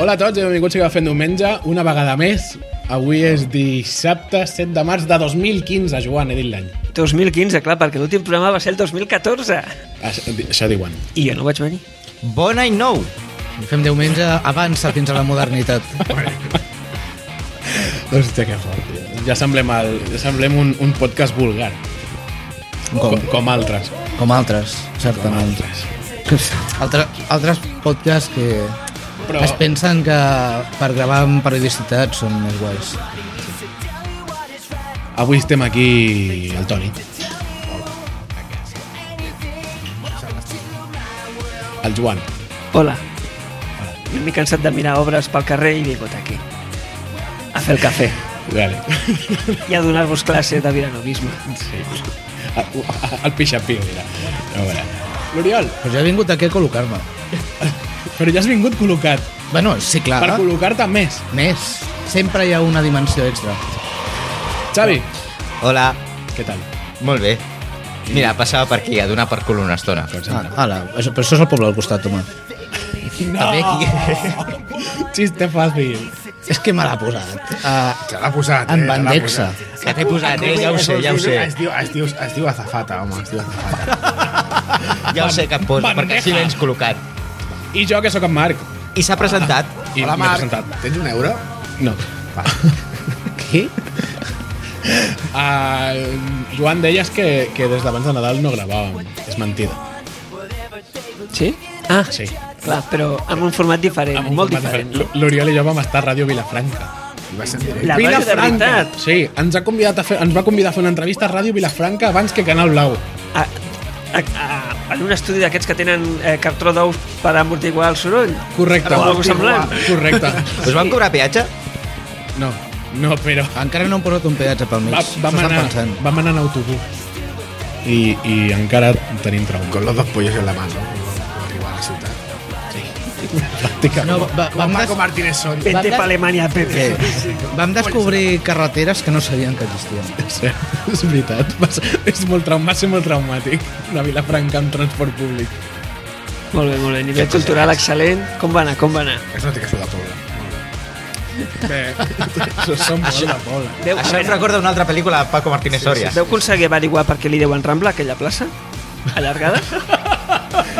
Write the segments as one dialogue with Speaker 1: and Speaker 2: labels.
Speaker 1: Hola a tots i benvinguts a Què va fent diumenge, una vegada més. Avui és dissabte 7 de març de 2015, Joan, he dit l'any.
Speaker 2: 2015, clar, perquè l'últim programa va ser el 2014.
Speaker 1: Això Ah, això diuen.
Speaker 2: I jo no vaig venir.
Speaker 3: Bon any nou!
Speaker 4: Fem diumenge, avança fins a la modernitat.
Speaker 1: Hòstia, que fort. tio. Ja semblem, el, ja semblem un, un podcast vulgar. Com, com altres.
Speaker 4: Com altres,
Speaker 1: Com
Speaker 4: certament.
Speaker 1: altres.
Speaker 4: Altre, altres podcasts que
Speaker 1: Però-
Speaker 4: Però... es pensen que per gravar amb periodicitat són més guais.
Speaker 1: Avui estem aquí el Toni. El Joan.
Speaker 2: Hola. Jo m'he cansat de mirar obres pel carrer i he vingut aquí. A fer el cafè.
Speaker 1: Vale.
Speaker 2: I a donar-vos classe de viranovisme.
Speaker 1: El pixapí, mira. A veure. L'Oriol,
Speaker 4: Però jo he vingut aquí a col·locar-me.
Speaker 1: però ja has vingut col·locat.
Speaker 4: Bueno, sí,
Speaker 3: Ah,
Speaker 4: clar.
Speaker 1: Per col·locar-te més.
Speaker 4: Més. Sempre hi ha una dimensió extra.
Speaker 1: Xavi,
Speaker 3: Hola,
Speaker 1: què tal?
Speaker 3: molt bé. Mira, passava per aquí a donar per cul una estona.
Speaker 4: Ah, ala, això- però això és el poble al costat, home. També aquí.
Speaker 1: Xiste fàcil.
Speaker 4: és que me l'ha posat. Uh,
Speaker 1: Ah,
Speaker 5: Se l'ha posat, eh?
Speaker 4: en
Speaker 5: se l'ha
Speaker 4: Bandexa.
Speaker 5: posat.
Speaker 3: Que t'he posat, eh? Ja ho sé, ja ho sé.
Speaker 5: Es diu, es diu, es diu Azafata, home, es diu Azafata.
Speaker 3: Ja ho sé que et poso, perquè així l'ens col·locat.
Speaker 1: I jo, que sóc en Marc.
Speaker 3: I s'ha presentat.
Speaker 1: I
Speaker 5: Hola,
Speaker 1: m'he
Speaker 5: Marc,
Speaker 1: presentat.
Speaker 5: tens un euro?
Speaker 1: No.
Speaker 5: Va.
Speaker 4: Qui?
Speaker 1: Uh, Joan, deies que, que des d'abans de Nadal no gravàvem. És mentida.
Speaker 2: Sí? Ah,
Speaker 1: Sí.
Speaker 2: clar, però amb un format diferent,
Speaker 1: Amb un
Speaker 2: molt
Speaker 1: format
Speaker 2: diferent.
Speaker 1: diferent. L'Oriol i jo vam estar a Ràdio Vilafranca.
Speaker 5: I va ser en directe.
Speaker 2: La ràdio de veritat.
Speaker 1: Sí, ens, ha convidat a fer, ens va convidar a fer una entrevista a Ràdio Vilafranca abans que Canal Blau.
Speaker 2: A, a, a, en un estudi d'aquests que tenen eh, cartró d'ous per amortiguar el soroll.
Speaker 1: Correcte.
Speaker 2: Era algo semblant.
Speaker 1: Correcte.
Speaker 3: Us van cobrar peatge?
Speaker 1: No, no, però...
Speaker 4: Encara no han posat un peatge pel mig.
Speaker 1: Va, vam,
Speaker 4: S'ho estan
Speaker 1: anar,
Speaker 4: pensant.
Speaker 1: vam anar en autobús. I, i encara tenim trauma.
Speaker 5: Con los dos pollos en la mano. Arribar a la ciutat.
Speaker 1: Pràcticament.
Speaker 4: No, va, va,
Speaker 5: Com
Speaker 4: vam,
Speaker 5: Marco
Speaker 4: des...
Speaker 5: Martínez Soria.
Speaker 2: Vete
Speaker 4: Bandes-
Speaker 2: pa Alemanya, Pepe.
Speaker 4: Eh, vam descobrir carreteres que no sabien que existien.
Speaker 1: Sí, és veritat. Va ser, és molt traum, va ser molt traumàtic. Una Vilafranca amb transport públic.
Speaker 2: Molt bé, molt bé. Nivell cultural excel·lent. Com va anar, com va anar?
Speaker 5: Eso no té que ser de poble.
Speaker 1: Bé, això som molt de poble.
Speaker 2: Deu,
Speaker 3: Això em recorda una altra pel·lícula de Paco Martínez Soria.
Speaker 2: Deu aconseguir averiguar per què li deuen Rambla aquella plaça? Allargada?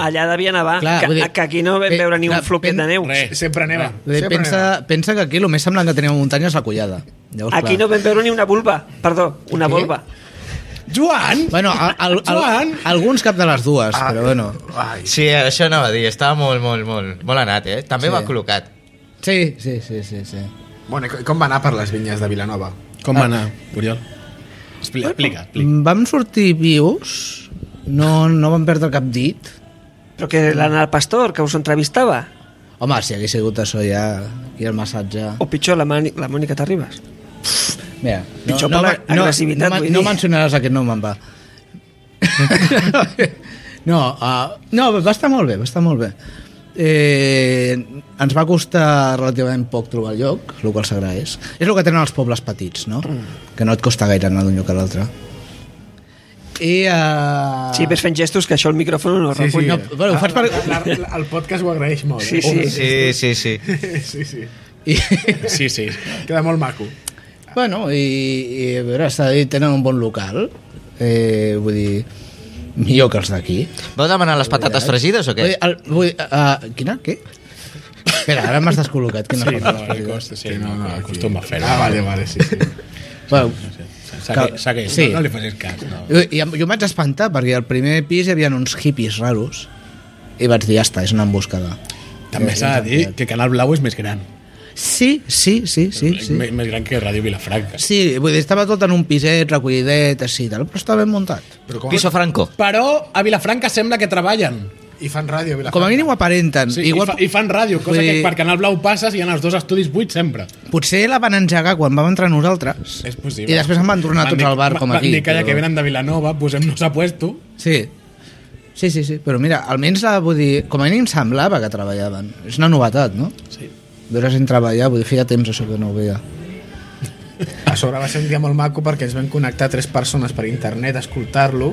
Speaker 2: Allà devia nevar,
Speaker 4: Clar,
Speaker 2: que,
Speaker 4: vull dir-
Speaker 2: que aquí no vam
Speaker 4: pe-
Speaker 2: veure ni un
Speaker 4: clar,
Speaker 2: floquet
Speaker 4: pen-
Speaker 2: de neu.
Speaker 1: Res.
Speaker 5: Sempre neva.
Speaker 2: Ah,
Speaker 4: Vull dir,
Speaker 5: Sempre neva.
Speaker 4: eh, Pensa, pensa que aquí el més semblant que tenim a muntanya és la collada. Llavors,
Speaker 2: Aquí no
Speaker 4: clar.
Speaker 2: vam veure ni una vulva. Perdó, una
Speaker 4: Què?
Speaker 2: volva.
Speaker 1: Joan!
Speaker 4: Bueno, al, al, al,
Speaker 1: Joan!
Speaker 4: alguns cap de les dues, ah. però bueno.
Speaker 5: Ai,
Speaker 3: Sí, això anava a dir, estava molt, molt, molt, molt anat, eh? També
Speaker 4: Sí.
Speaker 3: va col·locat.
Speaker 4: Sí, sí, sí, sí. sí.
Speaker 5: Bueno, i com va anar per les vinyes de Vilanova?
Speaker 1: Com va anar, Oriol? Explica, explica. explica.
Speaker 4: Mm, Vam sortir vius, no, no vam perdre cap dit.
Speaker 2: Però que l'Anna Pastor, que us entrevistava.
Speaker 4: Home, si hagués sigut això ja, aquí el massatge...
Speaker 2: O pitjor, la, Mani, la Mònica Terribas.
Speaker 4: Mira,
Speaker 2: Pitjor per la- agressivitat,
Speaker 4: no,
Speaker 2: vull
Speaker 4: no,
Speaker 2: dir.
Speaker 4: no mencionaràs aquest nom, em va. no, uh, no, va estar molt bé, va estar molt bé. Eh, ens va costar relativament poc trobar el lloc, el qual s'agraeix. És el que tenen els pobles petits, no?
Speaker 2: Mm.
Speaker 4: Que no et costa gaire anar d'un lloc a l'altre. I... Uh,
Speaker 2: Sí, ves fent gestos que això el micròfon no
Speaker 5: Sí,
Speaker 2: recull.
Speaker 5: sí.
Speaker 4: No, bueno, ho faig per...
Speaker 5: La, la, el podcast ho agraeix molt.
Speaker 2: Sí, sí.
Speaker 3: Sí, sí, sí.
Speaker 5: sí. sí, sí.
Speaker 4: I,
Speaker 1: Sí, sí.
Speaker 5: Queda molt maco.
Speaker 4: bueno, i, i a veure, està dit, tenen un bon local. Eh, vull dir, millor que els d'aquí.
Speaker 3: Vau demanar les patates fregides o
Speaker 4: Vull, dir,
Speaker 3: què?
Speaker 4: el, vull, uh, quina? Què? Espera, ara m'has descol·locat. Quina
Speaker 1: Sí,
Speaker 4: sí,
Speaker 1: no, el cost, sí, no, no, acostuma a fer-ho.
Speaker 5: Ah, vale, vale, sí, sí.
Speaker 4: bueno,
Speaker 1: Saque, saque,
Speaker 4: Sí.
Speaker 1: no, no li facis cas. No.
Speaker 4: jo, jo em vaig espantar perquè al primer pis hi havia uns hippies raros i vaig dir, ja està, és una emboscada.
Speaker 1: També s'ha de dir que Canal Blau és més gran.
Speaker 4: Sí, sí, sí,
Speaker 1: Sí.
Speaker 4: sí. sí.
Speaker 1: Més, més gran que Ràdio Vilafranca.
Speaker 4: Sí, vull dir, estava tot en un piset, recollidet, així i tal, però estava ben muntat.
Speaker 5: Però com,
Speaker 3: Piso Franco.
Speaker 1: Però a Vilafranca sembla que treballen.
Speaker 5: I fan ràdio a Vilafranca.
Speaker 4: Com a mínim ho aparenten.
Speaker 1: Sí,
Speaker 4: Igual,
Speaker 1: Igual... i, fa, I fan ràdio, cosa
Speaker 4: Vull
Speaker 1: que
Speaker 4: dir-
Speaker 1: per Canal Blau passes i hi ha els dos estudis buits sempre.
Speaker 4: Potser la van engegar quan vam entrar nosaltres.
Speaker 1: És possible.
Speaker 4: I després en van tornar tots al bar, com aquí.
Speaker 1: Van dir que,
Speaker 4: però-
Speaker 1: que venen de Vilanova, posem-nos a puesto.
Speaker 4: Sí. Sí, sí, sí. Però mira, almenys la, vull dir, com a mínim semblava que treballaven. És una novetat, no?
Speaker 1: Sí.
Speaker 4: Veure gent treballar, vull dir, feia temps això que no ho veia.
Speaker 5: A sobre va ser un dia molt maco perquè ens van connectar tres persones per internet a escoltar-lo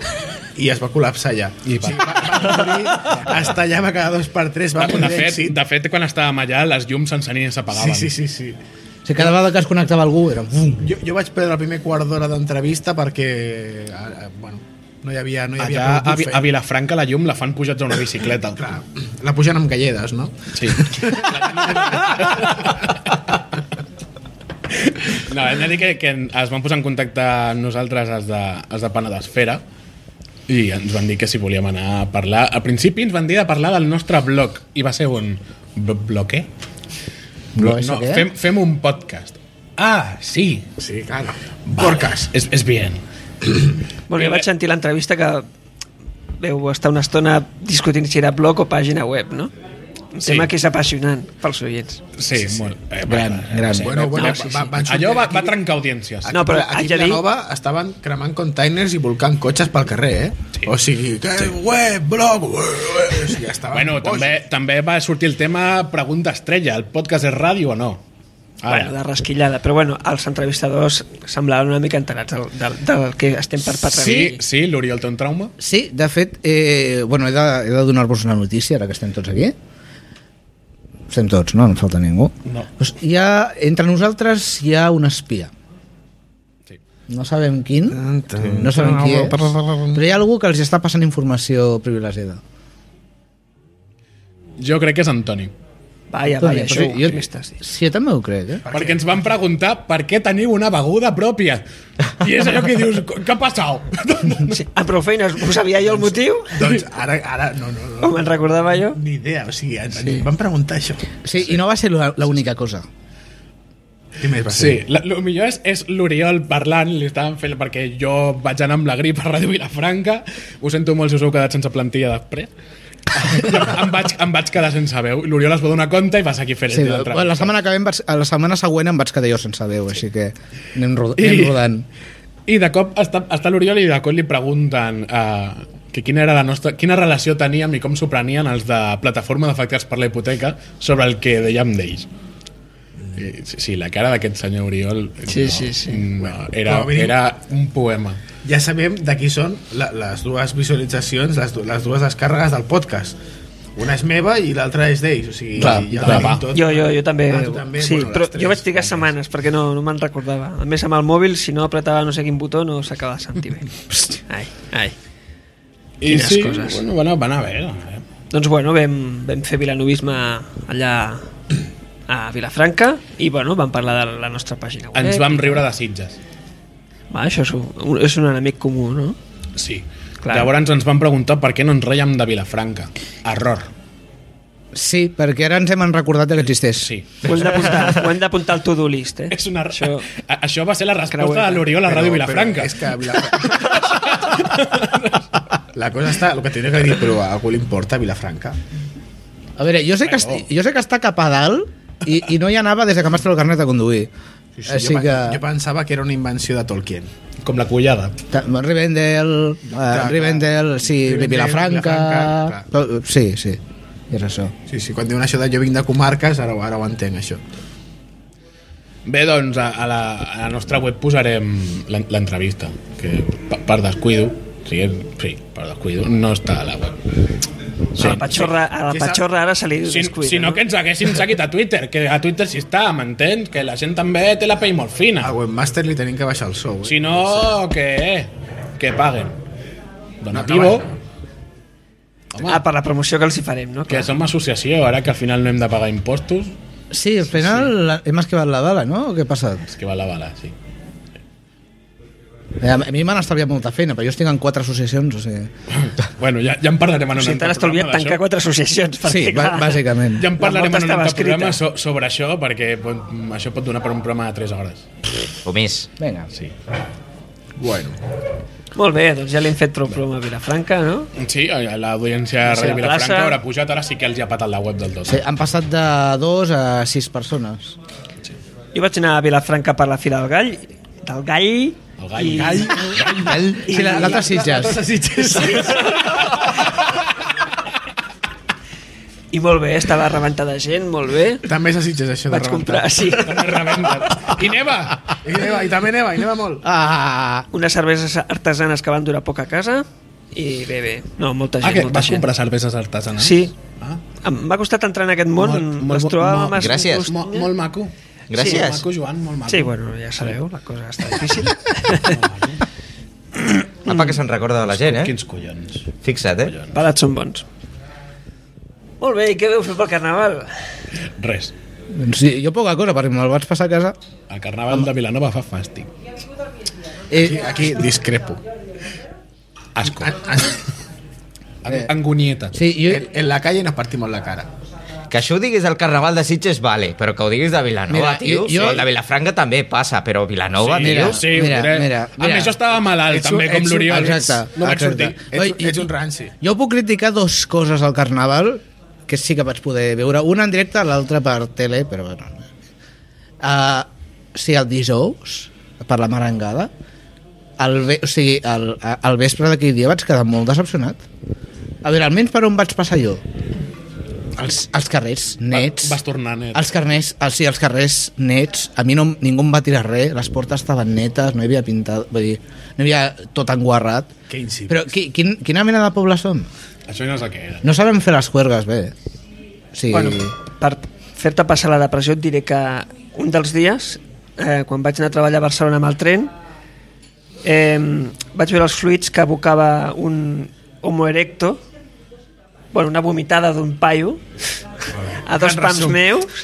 Speaker 5: i es va col·lapsar allà. I va. O sigui, va, va morir, es tallava cada dos per tres, va
Speaker 1: De
Speaker 5: morir
Speaker 1: fet,
Speaker 5: d'èxit.
Speaker 1: de fet, quan estàvem allà, les llums s'encenien i
Speaker 5: Sí,
Speaker 1: s'apagaven.
Speaker 5: sí, sí, sí.
Speaker 4: O sigui, cada vegada que es connectava algú era... Bum,
Speaker 5: Jo, jo vaig perdre el primer quart d'hora d'entrevista perquè, eh, eh, bueno, no hi havia... No hi havia
Speaker 1: Allà, a,
Speaker 5: pogut
Speaker 1: Vi-
Speaker 5: fer.
Speaker 1: a Vilafranca, la llum la fan pujats a una bicicleta.
Speaker 5: Clar, la pugen amb galledes, no?
Speaker 1: Sí. No, hem de dir que, que es van posar en contacte amb nosaltres els de, els de Panadesfera i ens van dir que si volíem anar a parlar... Al principi ens van dir de parlar del nostre blog i va ser un... b- Blog, què? no,
Speaker 4: Blog, això què?
Speaker 1: fem, fem un podcast. Ah, sí.
Speaker 5: Sí, claro. Porcas.
Speaker 1: És, és bien.
Speaker 2: Bueno, jo vaig sentir l'entrevista que veu estar una estona discutint si era blog o pàgina web, no? Un
Speaker 1: Sí.
Speaker 2: sí. tema que és apassionant pels oients.
Speaker 1: Sí, sí, sí. molt. Eh,
Speaker 4: Gran, gran.
Speaker 5: Bueno, bueno,
Speaker 2: No, sí, sí.
Speaker 5: va, van sortir
Speaker 1: Allò va, va
Speaker 5: d'aquí-
Speaker 1: trencar audiències.
Speaker 2: No, però
Speaker 5: aquí
Speaker 2: haig de
Speaker 5: a
Speaker 2: dir-
Speaker 5: Vilanova estaven cremant containers i volcant cotxes pel carrer, eh? Sí. O sigui, que sí. web, blog, web, web. O sigui, estaven
Speaker 1: Bueno,
Speaker 5: bojos.
Speaker 1: també, també va sortir el tema Pregunta Estrella. El podcast és ràdio o no?
Speaker 5: Ah,
Speaker 1: Ara.
Speaker 2: Bueno, de rasquillada, però bueno, els entrevistadors semblaven una mica enterats del, del, del que estem doncs, per parlar.
Speaker 1: sí, sí, l'Oriol té un trauma.
Speaker 4: Sí, de fet, eh, bueno, he de, he de donar-vos una notícia, ara que estem tots aquí. Estem tots, no? No en falta ningú.
Speaker 1: No.
Speaker 4: Doncs hi ha, entre nosaltres hi ha un espia.
Speaker 1: Sí. Ah,
Speaker 4: No sabem quin,
Speaker 5: Tan, tan,
Speaker 4: no sabem qui és,
Speaker 5: tan, tan, tan.
Speaker 4: però hi ha algú que els està passant informació privilegiada.
Speaker 1: Jo crec que és en Toni.
Speaker 2: Vaja,
Speaker 4: Toni,
Speaker 2: vaja, això
Speaker 4: però Doncs jo-
Speaker 2: jo... m'estàs dient.
Speaker 4: Sí, jo també ho crec, eh?
Speaker 1: perquè ens van preguntar per què teniu una beguda pròpia. I és allò que dius, "Co- què ha passat?
Speaker 2: Sí, amb prou feines, ho sabia jo el motiu?
Speaker 5: Doncs ara, ara, no, no, no.
Speaker 2: O me'n recordava jo?
Speaker 5: Ni idea, o sigui, ens sí. van preguntar això.
Speaker 4: Sí, i no va ser la- l'única cosa.
Speaker 5: Què més va
Speaker 1: Sí, el millor és, és l'Oriol parlant, li estaven fent, perquè jo vaig anar amb la grip a Ràdio Vilafranca, ho sento molt si us heu quedat sense plantilla després. em, vaig, em vaig quedar sense veu, i l'Oriol es va donar compte i va seguir fent
Speaker 4: Sí,
Speaker 1: el
Speaker 4: la, la, setmana que ve, em vaig- la setmana següent em vaig quedar jo sense veu, així que anem, ro
Speaker 1: I-
Speaker 4: anem rodant.
Speaker 1: I de cop està, està l'Oriol i de cop li pregunten eh, que quina, era la nostra, quina relació teníem i com s'ho prenien els de plataforma d'afectats per la hipoteca sobre el que dèiem d'ells. I, Sí, sí, la cara d'aquest senyor Oriol
Speaker 2: Sí, sí, sí.
Speaker 1: No, era,
Speaker 5: com a mínim-
Speaker 1: era un poema.
Speaker 5: Ja sabem de qui són la, les dues visualitzacions, les, du- les dues descàrregues del podcast. Una és meva i l'altra és d'ells, o sigui...
Speaker 1: Clar,
Speaker 5: ja
Speaker 1: clar,
Speaker 5: ho tenim
Speaker 1: va.
Speaker 5: tot.
Speaker 2: Jo, jo, jo també.
Speaker 5: Ah, tu també?
Speaker 2: Sí,
Speaker 5: Bueno, les
Speaker 2: però
Speaker 5: tres.
Speaker 2: jo vaig trigar setmanes perquè no, no me'n recordava. A més, amb el mòbil, si no apretava no sé quin botó, no s'acabava de sentir bé. Ai, ai.
Speaker 1: I
Speaker 2: Quines
Speaker 1: sí,
Speaker 2: coses.
Speaker 1: Bueno, van, a- van eh? a veure. van a veure.
Speaker 2: Doncs bueno, vam, vam fer vilanovisme allà a Vilafranca i bueno, vam parlar de la nostra pàgina web.
Speaker 1: Ens vam riure de Sitges.
Speaker 2: Va, això és un, és un enemic comú, no?
Speaker 1: Sí.
Speaker 2: Clar.
Speaker 1: Llavors ens van preguntar per què no ens reiem de Vilafranca. Error.
Speaker 4: Sí, perquè ara ens hem recordat que existeix.
Speaker 1: Sí.
Speaker 2: Ho hem d'apuntar, ho hem d'apuntar al to-do list, eh?
Speaker 1: És una... Això,
Speaker 2: Això,
Speaker 1: això va ser la resposta
Speaker 2: Creueta.
Speaker 1: de l'Oriol a Ràdio
Speaker 5: Però-
Speaker 1: Vilafranca.
Speaker 5: Però és que... La... la cosa està... El que tindré que dir, però a algú li importa Vilafranca?
Speaker 4: A veure, jo sé que, esti, jo sé que està cap a dalt i, i no hi anava des de que m'has tret el carnet de conduir.
Speaker 5: Sí, sí,
Speaker 4: Així
Speaker 5: jo,
Speaker 4: Eh, que...
Speaker 5: pe- jo pensava que era una invenció de Tolkien.
Speaker 1: Com la collada.
Speaker 4: Ta- Rivendell, uh,
Speaker 5: clar.
Speaker 4: Rivendell, sí,
Speaker 5: Rivendell,
Speaker 4: Vilafranca...
Speaker 5: Vilafranca,
Speaker 4: Vilafranca sí, sí, és això.
Speaker 5: Sí, sí, quan diuen això de jo vinc de comarques, ara, ho- ara ho entenc, això.
Speaker 1: Bé, doncs, a, a, la, a la nostra web posarem l'en- l'entrevista, que per, per descuido, sí, sí, per descuido, no està a la web.
Speaker 2: a la patxorra, a la
Speaker 5: Sí, sí.
Speaker 2: patxorra ara se li
Speaker 1: Si,
Speaker 2: descuida.
Speaker 1: si no, que ens haguessin seguit a Twitter, que a Twitter sí està, m'entens? Que la gent també té la pell molt fina.
Speaker 5: Al webmaster li tenim que baixar el sou, eh?
Speaker 1: Ah. Si no, que, que paguen. Doncs Donativo,
Speaker 2: Ah, per la promoció que els hi farem, no?
Speaker 1: que
Speaker 2: Clar.
Speaker 1: som associació, ara que al final no hem de pagar impostos,
Speaker 4: Sí, al final la- hem esquivat la bala, no? O Què ha passat?
Speaker 1: és que va la bala, sí.
Speaker 4: Eh, A mi m'han estalviat molta feina, però jo estic en quatre associacions, o sigui...
Speaker 1: Bueno, ja, ja en parlarem en
Speaker 2: O
Speaker 1: un
Speaker 2: sigui,
Speaker 1: altre
Speaker 2: t'han estalviat
Speaker 1: programa, d'això.
Speaker 2: tancar quatre associacions. Perquè,
Speaker 4: Sí,
Speaker 2: clar,
Speaker 4: bà- bàsicament.
Speaker 1: Ja en
Speaker 2: La
Speaker 1: parlarem
Speaker 2: volta
Speaker 1: en un
Speaker 2: estava
Speaker 1: altre programa
Speaker 2: escrita.
Speaker 1: so, sobre això, perquè pot, això pot donar per un programa de 3 hores.
Speaker 3: O més.
Speaker 4: Vinga.
Speaker 1: Sí.
Speaker 5: Bueno.
Speaker 2: Molt bé, doncs ja li hem fet prou ploma a Vilafranca, no?
Speaker 1: Sí, a l'audiència
Speaker 2: La
Speaker 1: de Ràdio
Speaker 2: plaça.
Speaker 1: Vilafranca haurà pujat, ara sí que els hi ha patat la web del tot.
Speaker 4: Sí, han passat de dos a sis persones.
Speaker 2: Jo vaig anar a Vilafranca per la Fira del Gall, del Gall,
Speaker 1: El gall,
Speaker 2: i-
Speaker 1: gall, gall, gall.
Speaker 4: Sí, la- l'altre Sitges.
Speaker 2: i molt bé, estava rebentada de gent, molt bé.
Speaker 5: També és a Sitges, això de
Speaker 2: Vaig comprar, sí,
Speaker 1: També rebenta. I neva!
Speaker 5: I, neva, I també neva, i neva molt.
Speaker 4: Ah,
Speaker 2: unes cerveses artesanes que van durar poc a casa i bé, bé, no, molta gent,
Speaker 1: Ah, que
Speaker 2: molta
Speaker 1: vas
Speaker 2: gent.
Speaker 1: comprar cerveses artesanals?
Speaker 2: Sí.
Speaker 1: Ah.
Speaker 2: Em va costat entrar en aquest món,
Speaker 1: Molt- molt
Speaker 2: les
Speaker 1: bo-
Speaker 2: trobava
Speaker 1: molt-
Speaker 2: més...
Speaker 3: gràcies.
Speaker 2: gust-
Speaker 1: Molt, molt maco. Molt
Speaker 3: Gràcies.
Speaker 1: maco, Joan, molt maco.
Speaker 2: Sí, bueno, ja sabeu, la cosa està difícil.
Speaker 3: Apa, que se'n recorda de la gent, eh?
Speaker 1: Quins collons.
Speaker 3: Fixa't, eh?
Speaker 2: Palats són bons. Molt bé, i què veu fer pel carnaval?
Speaker 1: Res.
Speaker 4: doncs sí, jo poca cosa, perquè me'l vaig passar a casa.
Speaker 1: El carnaval de Vilanova fa fàstic.
Speaker 4: Eh,
Speaker 5: Aquí discrepo.
Speaker 1: Asco.
Speaker 5: En, en,
Speaker 1: Ang- Angonieta.
Speaker 4: sí, jo,
Speaker 5: Ah, en, en la calle nos partimos la cara.
Speaker 3: Que això ho diguis del Carnaval de Sitges, vale, però que ho diguis de
Speaker 4: Mira,
Speaker 3: Vilanova, tio.
Speaker 4: jo-
Speaker 3: Jo... El de Vilafranca també passa, però Vilanova,
Speaker 1: sí,
Speaker 3: tio.
Speaker 4: mira,
Speaker 1: sí,
Speaker 4: mira,
Speaker 1: mira,
Speaker 4: mira,
Speaker 1: A
Speaker 4: mira.
Speaker 1: més, jo estava malalt,
Speaker 5: Ets un-
Speaker 1: també, com
Speaker 5: ets un-
Speaker 1: l'Oriol.
Speaker 4: exacte.
Speaker 1: No vaig
Speaker 4: exacte.
Speaker 1: sortir.
Speaker 5: Ets,
Speaker 4: Oi, i-
Speaker 5: ets un ranci.
Speaker 4: jo puc criticar dos coses al Carnaval, que sí que vaig poder veure. Una en directe, l'altra per tele, però bueno. Uh, sí, el dijous, per la marangada, el, ve, o sigui, el, el vespre d'aquell dia vaig quedar molt decepcionat. A veure, almenys per on vaig passar jo? Els, els carrers nets.
Speaker 1: Vas tornar net.
Speaker 4: Els carrers, els, sí, els carrers nets, a mi no, ningú em va tirar res, les portes estaven netes, no hi havia pintat, vull dir, no hi havia tot enguarrat.
Speaker 5: Que incipient.
Speaker 4: Però qui, quin, quina mena de poble som?
Speaker 1: Això no sé què era.
Speaker 4: No sabem fer les juergues bé. Sí,
Speaker 5: Bueno.
Speaker 4: bueno.
Speaker 2: Per fer-te passar la depressió et diré que un dels dies, eh, quan vaig anar a treballar a Barcelona amb el tren, eh, vaig veure els fluids que abocava un homo erecto, bueno, una vomitada d'un paio, a dos pams meus,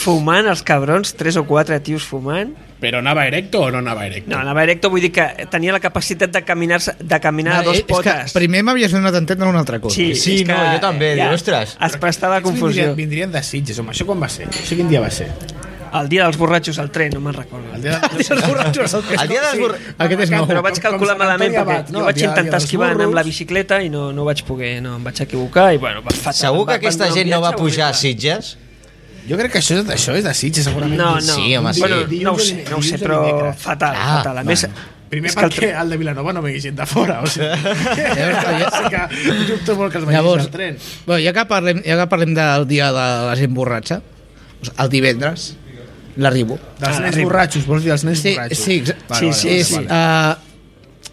Speaker 2: fumant els cabrons, tres o quatre tios fumant,
Speaker 1: Però anava erecto o no anava erecto?
Speaker 2: No, anava erecto, vull dir que tenia la capacitat de caminar, de caminar a dos
Speaker 4: és que
Speaker 2: potes.
Speaker 4: primer m'havies donat a entendre una altra cosa.
Speaker 3: Sí,
Speaker 2: és que
Speaker 3: no, jo també, dic, ostres.
Speaker 2: Es prestava confusió.
Speaker 5: Vindrien, vindrien de Sitges, home. Això quan va ser? Això quin dia va ser?
Speaker 2: El dia dels borratxos al tren, no me'n recordo.
Speaker 5: El dia de...
Speaker 4: Els borratxos, el que-
Speaker 3: El dia dels... Sí.
Speaker 4: Aquest és
Speaker 5: Però
Speaker 4: nou.
Speaker 2: Però vaig
Speaker 5: Com- com
Speaker 2: calcular
Speaker 5: Sant
Speaker 2: malament
Speaker 5: Antoni
Speaker 2: perquè
Speaker 5: Abat,
Speaker 2: no,
Speaker 5: no?
Speaker 2: jo vaig
Speaker 5: Dia- dia
Speaker 2: intentar
Speaker 5: dels
Speaker 2: esquivar anar amb la
Speaker 5: burros.
Speaker 2: bicicleta i no, no vaig poder, no, em vaig equivocar i bueno, va fatal.
Speaker 3: Segur
Speaker 2: Em va-
Speaker 3: que aquesta
Speaker 2: em va-
Speaker 3: gent no va
Speaker 2: em
Speaker 3: pujar a
Speaker 2: horrible.
Speaker 3: Sitges?
Speaker 5: Jo crec que això és, això és de Sitges, segurament.
Speaker 2: No, no.
Speaker 3: Sí, home, sí.
Speaker 2: Bueno,
Speaker 5: Dilluns
Speaker 2: no ho
Speaker 5: o
Speaker 2: sé, no ho
Speaker 5: dimecres.
Speaker 2: sé, però fatal,
Speaker 3: Ah,
Speaker 2: fatal. A més,
Speaker 5: Primer
Speaker 2: és que el
Speaker 5: perquè el de Vilanova no vegi gent de fora, o sigui... Així que dubto molt que els vegis
Speaker 4: Llavors,
Speaker 5: al tren.
Speaker 4: bueno, ja, que parlem, ja que parlem del dia de la gent borratxa, doncs, el divendres l'arribo.
Speaker 5: Dels
Speaker 2: Ah,
Speaker 5: nens
Speaker 2: arriba.
Speaker 5: borratxos, vols dir els nens
Speaker 4: Sí,
Speaker 5: borratxos?
Speaker 4: sí, exa-
Speaker 5: Vale, vale,
Speaker 2: Sí, sí,
Speaker 5: vale,
Speaker 4: és,
Speaker 5: vale.
Speaker 4: eh,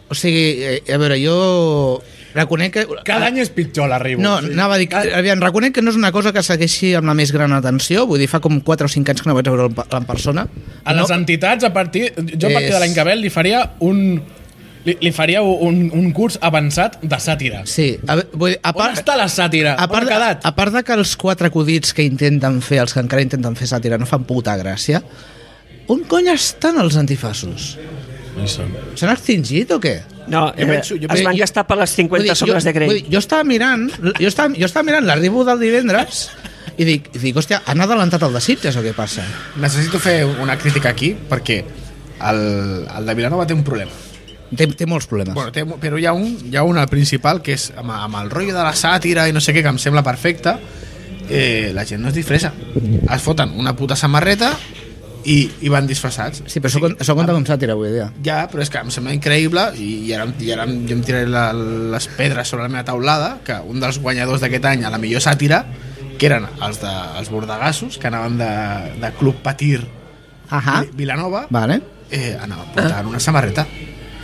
Speaker 4: o sigui, eh, a veure, jo reconec que...
Speaker 1: Cada any és pitjor l'arribo.
Speaker 4: No, anava a dir, que- aviam, reconec que no és una cosa que segueixi amb la més gran atenció, vull dir, fa com 4 o 5 anys que no vaig veure en persona.
Speaker 1: A les
Speaker 4: no,
Speaker 1: entitats, a partir, jo a partir de
Speaker 4: És-
Speaker 1: l'any que ve li faria un... Li, li faria un, un curs avançat de sàtira.
Speaker 4: sí, a, ve- vull dir, a
Speaker 1: On
Speaker 4: part...
Speaker 1: està la sàtira?
Speaker 4: A part,
Speaker 1: On ha quedat?
Speaker 4: a part de que els quatre acudits que intenten fer, els que encara intenten fer sàtira, no fan puta gràcia, on cony estan els antifassos? S'han extingit o què?
Speaker 2: No, eh,
Speaker 5: Jo penso- jo
Speaker 2: es
Speaker 5: penso-
Speaker 2: van gastar per les
Speaker 4: Vull
Speaker 2: 50
Speaker 4: dir,
Speaker 2: sobres de
Speaker 4: vull
Speaker 2: Grey.
Speaker 4: dir, Jo estava mirant, jo estava, jo estava mirant l'arribo del divendres i dic, i dic, hòstia, han adelantat el de Sitges o què passa?
Speaker 5: Necessito fer una crítica aquí, perquè el, el de Vilanova té un problema.
Speaker 4: Té, té molts problemes.
Speaker 5: Bueno, té, mo- però hi ha, un, hi ha un al principal, que és amb, amb el rotllo de la sàtira i no sé què, que em sembla perfecte, eh, la gent no es disfressa. Es foten una puta samarreta i, i van disfressats.
Speaker 4: sí, però això, con- això compta com sàtira avui dia.
Speaker 5: Ja, però és que em sembla increïble i, i ara, i ara em- jo em tiraré la, les pedres sobre la meva taulada que un dels guanyadors d'aquest any a la millor sàtira que eren els, de, els bordegassos que anaven de, de Club Patir
Speaker 4: Ahà.
Speaker 5: Vi- Vilanova
Speaker 4: Vale.
Speaker 5: eh, anaven portant una samarreta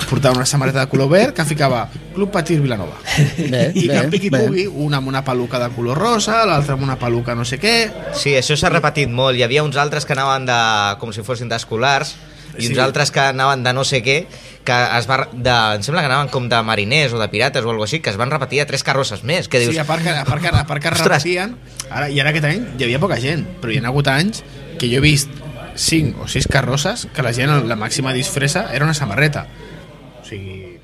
Speaker 5: portaven una samarreta de color verd que ficava Club Patir Vilanova
Speaker 4: Bé,
Speaker 5: i que
Speaker 4: bé,
Speaker 5: piqui pugui,
Speaker 4: bé.
Speaker 5: una amb una peluca de color rosa, l'altra amb una peluca no sé què
Speaker 3: Sí, això s'ha repetit molt. Hi havia uns altres que anaven de, com si fossin d'escolars i uns
Speaker 5: Sí.
Speaker 3: altres que anaven de no sé què que es va, de, em sembla que anaven com de mariners o de pirates o alguna així, que es van repetir a tres carrosses més, que dius,
Speaker 5: Sí, a part que, a part que, a part que
Speaker 3: Ostres.
Speaker 5: repetien, ara, i ara aquest any hi havia poca gent, però hi ha hagut anys que jo he vist 5 o 6 carrosses que la gent, la màxima disfressa era una samarreta. O sigui...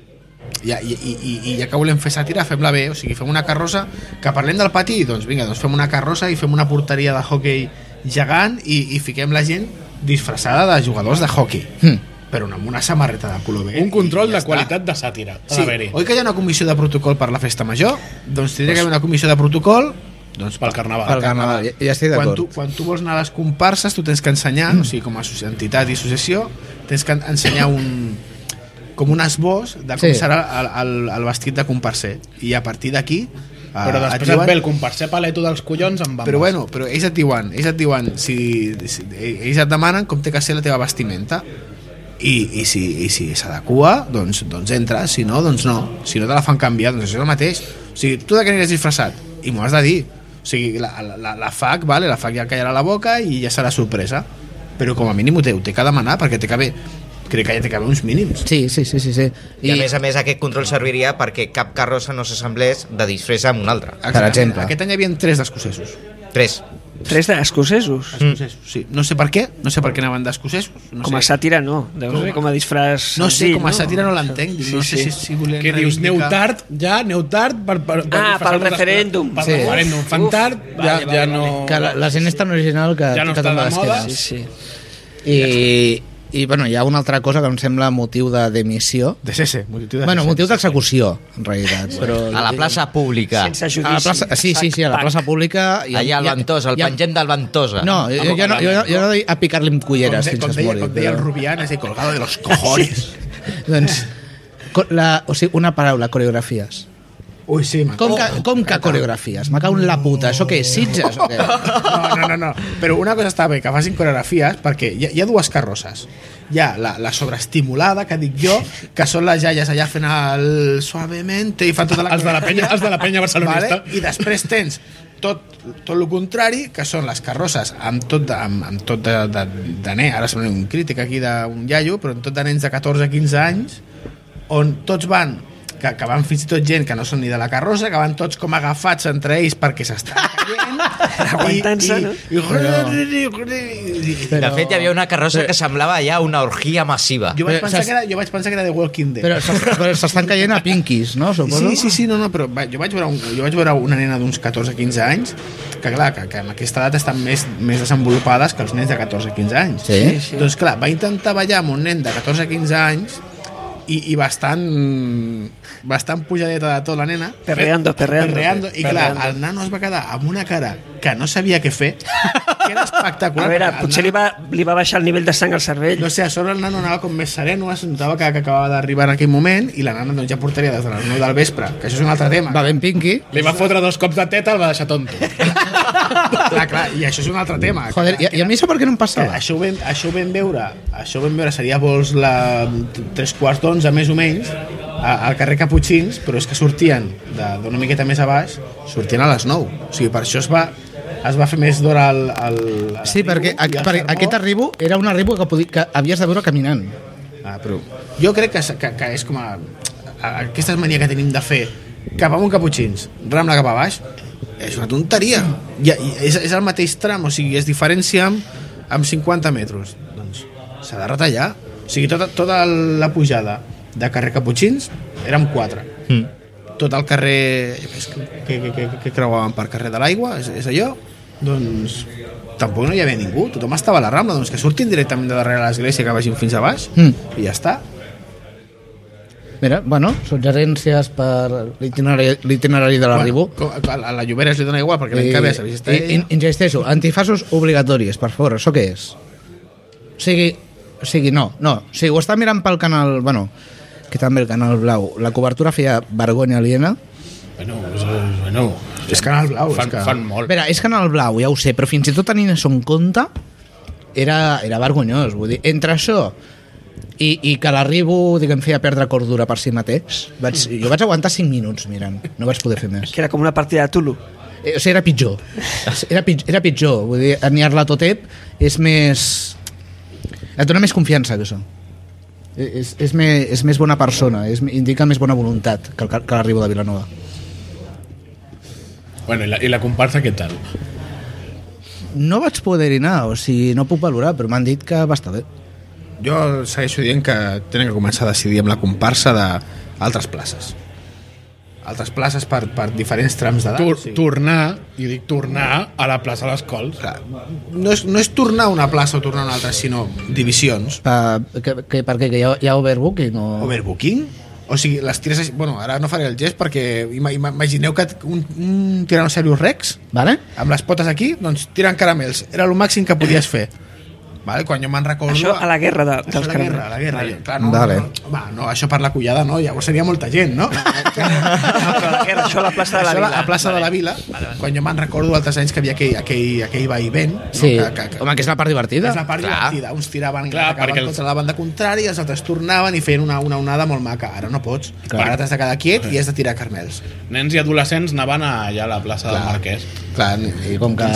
Speaker 5: Ja, i, i, i, i ja que volem fer sàtira, fem-la bé, o sigui, fem una carrossa que parlem del pati, doncs vinga, doncs fem una carrossa i fem una porteria
Speaker 3: Hmm.
Speaker 5: de hockey gegant i, i fiquem la gent disfressada de jugadors de hockey.
Speaker 4: Hm.
Speaker 5: però amb una samarreta de color verd.
Speaker 1: Un control
Speaker 5: i ja
Speaker 1: de
Speaker 5: està.
Speaker 1: qualitat de sàtira. ha
Speaker 5: Sí,
Speaker 1: d'haver-hi.
Speaker 5: oi que hi ha una comissió de protocol per la festa major? Doncs tindria que haver una comissió de protocol doncs
Speaker 1: Pel carnaval.
Speaker 4: Pel carnaval, ja, ja estic
Speaker 5: quan tu,
Speaker 4: d'acord.
Speaker 5: quan tu vols anar a les comparses tu tens que ensenyar, o sigui, com a asso- entitat i associació, tens que ensenyar un com un esbós de com
Speaker 4: Sí.
Speaker 5: sí. serà el, el, el vestit de comparser i a partir d'aquí eh,
Speaker 1: Però després
Speaker 5: diuen-
Speaker 1: et ve el comparsé paleto dels collons amb bambes.
Speaker 5: però bueno, però ells et diuen, ells et diuen si, si ells et demanen com té que ser la teva vestimenta i, i si i si s'adequa, doncs, doncs entra, si no, doncs no. Si no te la fan canviar, doncs això és el mateix. O sigui, tu de què aniràs disfressat? I m'ho has de dir. O sigui, la, la- la, la FAC, vale, la FAC ja callarà la boca i ja serà sorpresa. Però com a mínim ho té, ho té que demanar perquè té que haver, crec que ja té que haver uns mínims.
Speaker 4: Sí, sí, sí, sí. sí.
Speaker 3: I, I a més a més aquest control serviria perquè cap carrossa no s'assemblés de disfressa amb una altra.
Speaker 4: Per exemple.
Speaker 5: Aquest any hi havia tres d'escocesos.
Speaker 2: Mm.
Speaker 3: Tres.
Speaker 2: Tres d'escocesos.
Speaker 5: Escocesos, sí. No sé per què, no sé per què anaven d'escocesos. No
Speaker 2: Com a
Speaker 5: sé.
Speaker 2: sàtira no, deu
Speaker 5: Com
Speaker 2: ser
Speaker 5: a-
Speaker 2: com a disfraç
Speaker 5: No sé,
Speaker 2: senzill,
Speaker 5: com a sàtira no l'entenc. dic, No
Speaker 2: Sí,
Speaker 5: sé
Speaker 2: sí.
Speaker 5: si, si volien
Speaker 1: que dius, aneu
Speaker 5: reivindicar-
Speaker 1: tard, ja, aneu tard per, per, per
Speaker 2: Ah,
Speaker 1: disfressar-vos
Speaker 2: pel
Speaker 1: les-
Speaker 2: referèndum.
Speaker 1: Pel
Speaker 4: Sí.
Speaker 1: referèndum. Fan
Speaker 2: Uf.
Speaker 1: tard, ja,
Speaker 5: Vale, vale,
Speaker 1: ja
Speaker 5: vale.
Speaker 1: no...
Speaker 4: Que la, la gent és tan original que
Speaker 1: Ja no
Speaker 4: que
Speaker 1: està
Speaker 4: tant
Speaker 1: de
Speaker 4: les
Speaker 1: moda.
Speaker 4: quedes.
Speaker 2: Sí, sí.
Speaker 4: I, i bueno, hi ha una altra cosa que em sembla motiu de demissió.
Speaker 5: De cese, motiu de
Speaker 4: Bueno,
Speaker 5: cese.
Speaker 4: motiu d'execució, en realitat. Però
Speaker 3: A la plaça pública.
Speaker 2: Sense judici.
Speaker 4: a la plaça, sí, sí, sí, a la plaça pública... i-
Speaker 3: Allà al
Speaker 4: i-
Speaker 3: Ventosa, el
Speaker 4: i-
Speaker 3: pengent del Ventosa.
Speaker 4: No, jo, jo, no, jo, jo no he de- a picar-li amb
Speaker 5: Com,
Speaker 4: culleres
Speaker 5: de,
Speaker 4: fins
Speaker 5: com,
Speaker 4: que es
Speaker 5: deia,
Speaker 4: mori.
Speaker 5: com deia el
Speaker 4: però-
Speaker 5: Rubián, ese colgado de los cojones.
Speaker 4: Doncs, co- la, o sigui, una paraula, coreografies.
Speaker 5: Ui, sí, m'encanta.
Speaker 4: Com que, com que coreografies? Me cago en la puta. Això què és? Sitges? O què?
Speaker 5: No, no, no, no. Però una cosa està bé, que facin coreografies, perquè hi ha, hi ha dues carrosses. Hi ha la, la sobreestimulada, que dic jo, que són les jaies allà fent el suavemente i fan tota la
Speaker 1: Els de la penya- els de la penya barcelonista.
Speaker 5: Vale? I després tens tot, tot el contrari, que són les carrosses amb tot de, amb, amb tot de, de, de nen, ara sembla un crític aquí d'un iaio, però amb tot de nens de 14-15 anys, on tots van que, que van fins i tot gent que no són ni de la carrossa, que van tots com agafats entre ells perquè s'estan caient.
Speaker 2: Aguantant-se,
Speaker 5: I-
Speaker 2: no?
Speaker 5: i- i- i- i-
Speaker 3: De fet, hi havia una carrossa que semblava ja una orgia massiva.
Speaker 5: Jo vaig
Speaker 4: Però
Speaker 5: pensar
Speaker 4: saps-
Speaker 5: que era, jo vaig pensar que era de Walking Dead.
Speaker 4: Però s'es- però s'estan caient a pinquis, no? Suposo?
Speaker 5: Sí, sí, sí, no, no, però va, jo vaig veure, un, jo vaig veure una nena d'uns 14-15 anys que, clar, que, que en aquesta edat estan més, més desenvolupades que els nens de 14-15 anys.
Speaker 4: Sí?
Speaker 5: Sí. Doncs clar, va intentar ballar amb un nen de 14-15 anys i, i bastant, bastant pujadeta de tot la nena.
Speaker 2: Perreando, perreando.
Speaker 5: perreando. I clar,
Speaker 2: Perreando.
Speaker 5: el nano es va quedar amb una cara que no sabia què fer, que era espectacular.
Speaker 2: A veure,
Speaker 5: perquè el
Speaker 2: potser li
Speaker 5: nano-
Speaker 2: va, li va baixar el nivell de sang al cervell.
Speaker 5: no sé, a sobre el nano anava com més sereno, es notava que, que acabava d'arribar en aquell moment i la nana doncs, ja portaria des de les 9 del vespre, que això és un altre tema.
Speaker 4: Va ben pinqui.
Speaker 1: Li va fotre dos cops de teta, el va deixar tonto.
Speaker 5: clar, clar, i això és un altre tema.
Speaker 4: Joder, i, i a mi això per què no em
Speaker 5: Que
Speaker 4: passava?
Speaker 5: això, ho vam, això ho vam veure, això ho vam veure, seria vols la, tres quarts d'onze, més o menys, a- al carrer Caputxins, però és que sortien de- d'una miqueta més a baix, sortien a les 9. O sigui, per això es va, es va fer més d'hora al, al, a
Speaker 4: Sí,
Speaker 5: l'arribo
Speaker 4: perquè,
Speaker 5: i al
Speaker 4: perquè
Speaker 5: sermó.
Speaker 4: aquest arribo era un arribo que, podi, que havies de veure caminant.
Speaker 5: Ah, però jo crec que, s- que, que és com a, a, aquesta mania que tenim de fer cap amunt caputxins, Rambla cap a baix és una tonteria I, i és, és el mateix tram, o sigui, es diferencia amb, amb 50 metres doncs s'ha de retallar o sigui, tota, tota la pujada de carrer Caputxins érem 4 mm. tot el carrer és que, que, que, que, que creuàvem per carrer de l'aigua és, és allò doncs tampoc no hi havia ningú, tothom estava a la Rambla doncs que surtin directament de darrere l'església que vagin fins a baix
Speaker 4: Mm.
Speaker 5: i ja està.
Speaker 4: Mira, bueno, suggerències per l'itinerari l'itinerari de l'arribo.
Speaker 5: Bueno, com- a, a la Lloberes li dona igual, perquè l'any que ve s'ha vist
Speaker 4: I- in- insisteixo, antifasos obligatoris, per favor, això què és? O sigui, o sigui no, no, o sigui, ho està mirant pel canal, bueno, que també el canal blau, la cobertura feia vergonya aliena.
Speaker 1: bueno, és- és- bueno,
Speaker 5: És Canal Blau,
Speaker 1: fan,
Speaker 5: és que...
Speaker 1: fan molt.
Speaker 4: Espera, és canal blau, ja ho sé, però fins i tot tenint això en compte, era, era vergonyós, vull dir, entre això i, i que l'arribo, diguem, feia perdre cordura per si mateix, vaig, jo vaig aguantar 5 minuts mirant, no vaig poder fer més.
Speaker 2: Que era com una partida de Tulu.
Speaker 4: Eh, O sigui, era pitjor. Era, pitjor, era pitjor. Vull dir, aniar-la tot ep és més... Et dona més confiança que això. Eh, És, és, més, és més bona persona, és, indica més bona voluntat que, el, que l'arribo de Vilanova.
Speaker 1: Bueno, i la, i la comparsa què tal?
Speaker 4: No vaig poder-hi anar, o sigui, no puc valorar, però m'han dit que va estar bé.
Speaker 5: Jo segueixo dient que tenen que començar a decidir amb la comparsa d'altres places. altres places per, per diferents trams d'edat.
Speaker 1: Tor
Speaker 5: sí.
Speaker 1: Tornar, i dic tornar, a la plaça de les Cols.
Speaker 5: Clar, no, és, no és tornar a una plaça o tornar a una altra, sinó divisions.
Speaker 4: Per, que, que, per què? Que hi ha, hi ha overbooking o...
Speaker 5: Ah. Overbooking? O sigui, les tires... així- Bueno, ara no faré el gest perquè ima- ima- imagineu que un, un Tyrannosaurus Rex
Speaker 4: Vale?
Speaker 5: amb les potes aquí, doncs tiren caramels. Era el màxim que podies fer. Vale? Quan jo me'n recordo...
Speaker 2: Això a la guerra de,
Speaker 5: Això a
Speaker 2: dels
Speaker 5: la
Speaker 2: caramels.
Speaker 5: guerra, a la guerra. Clar, no,
Speaker 4: Vale.
Speaker 5: no, no, va, no, això per la collada no, llavors seria molta gent, no?
Speaker 2: No, però la guerra, això a la plaça de la
Speaker 5: Això a la,
Speaker 2: Vila.
Speaker 5: a plaça de la Vila, quan jo me'n recordo altres anys que havia aquell, aquell, aquell vaivent, no?
Speaker 4: Sí.
Speaker 5: que, que, que,
Speaker 4: Home, que és la part divertida.
Speaker 5: és la part
Speaker 4: Clar.
Speaker 5: divertida. Uns tiraven
Speaker 1: Clar,
Speaker 5: clar,
Speaker 1: perquè
Speaker 5: perquè
Speaker 1: el-
Speaker 5: contra la banda contrària, els altres tornaven i feien una, una onada molt maca. Ara no pots. Clar. Ara t'has de quedar quiet i has de tirar carmels.
Speaker 1: Nens i adolescents anaven allà a la plaça del Marquès.
Speaker 5: Clar,
Speaker 4: I com que,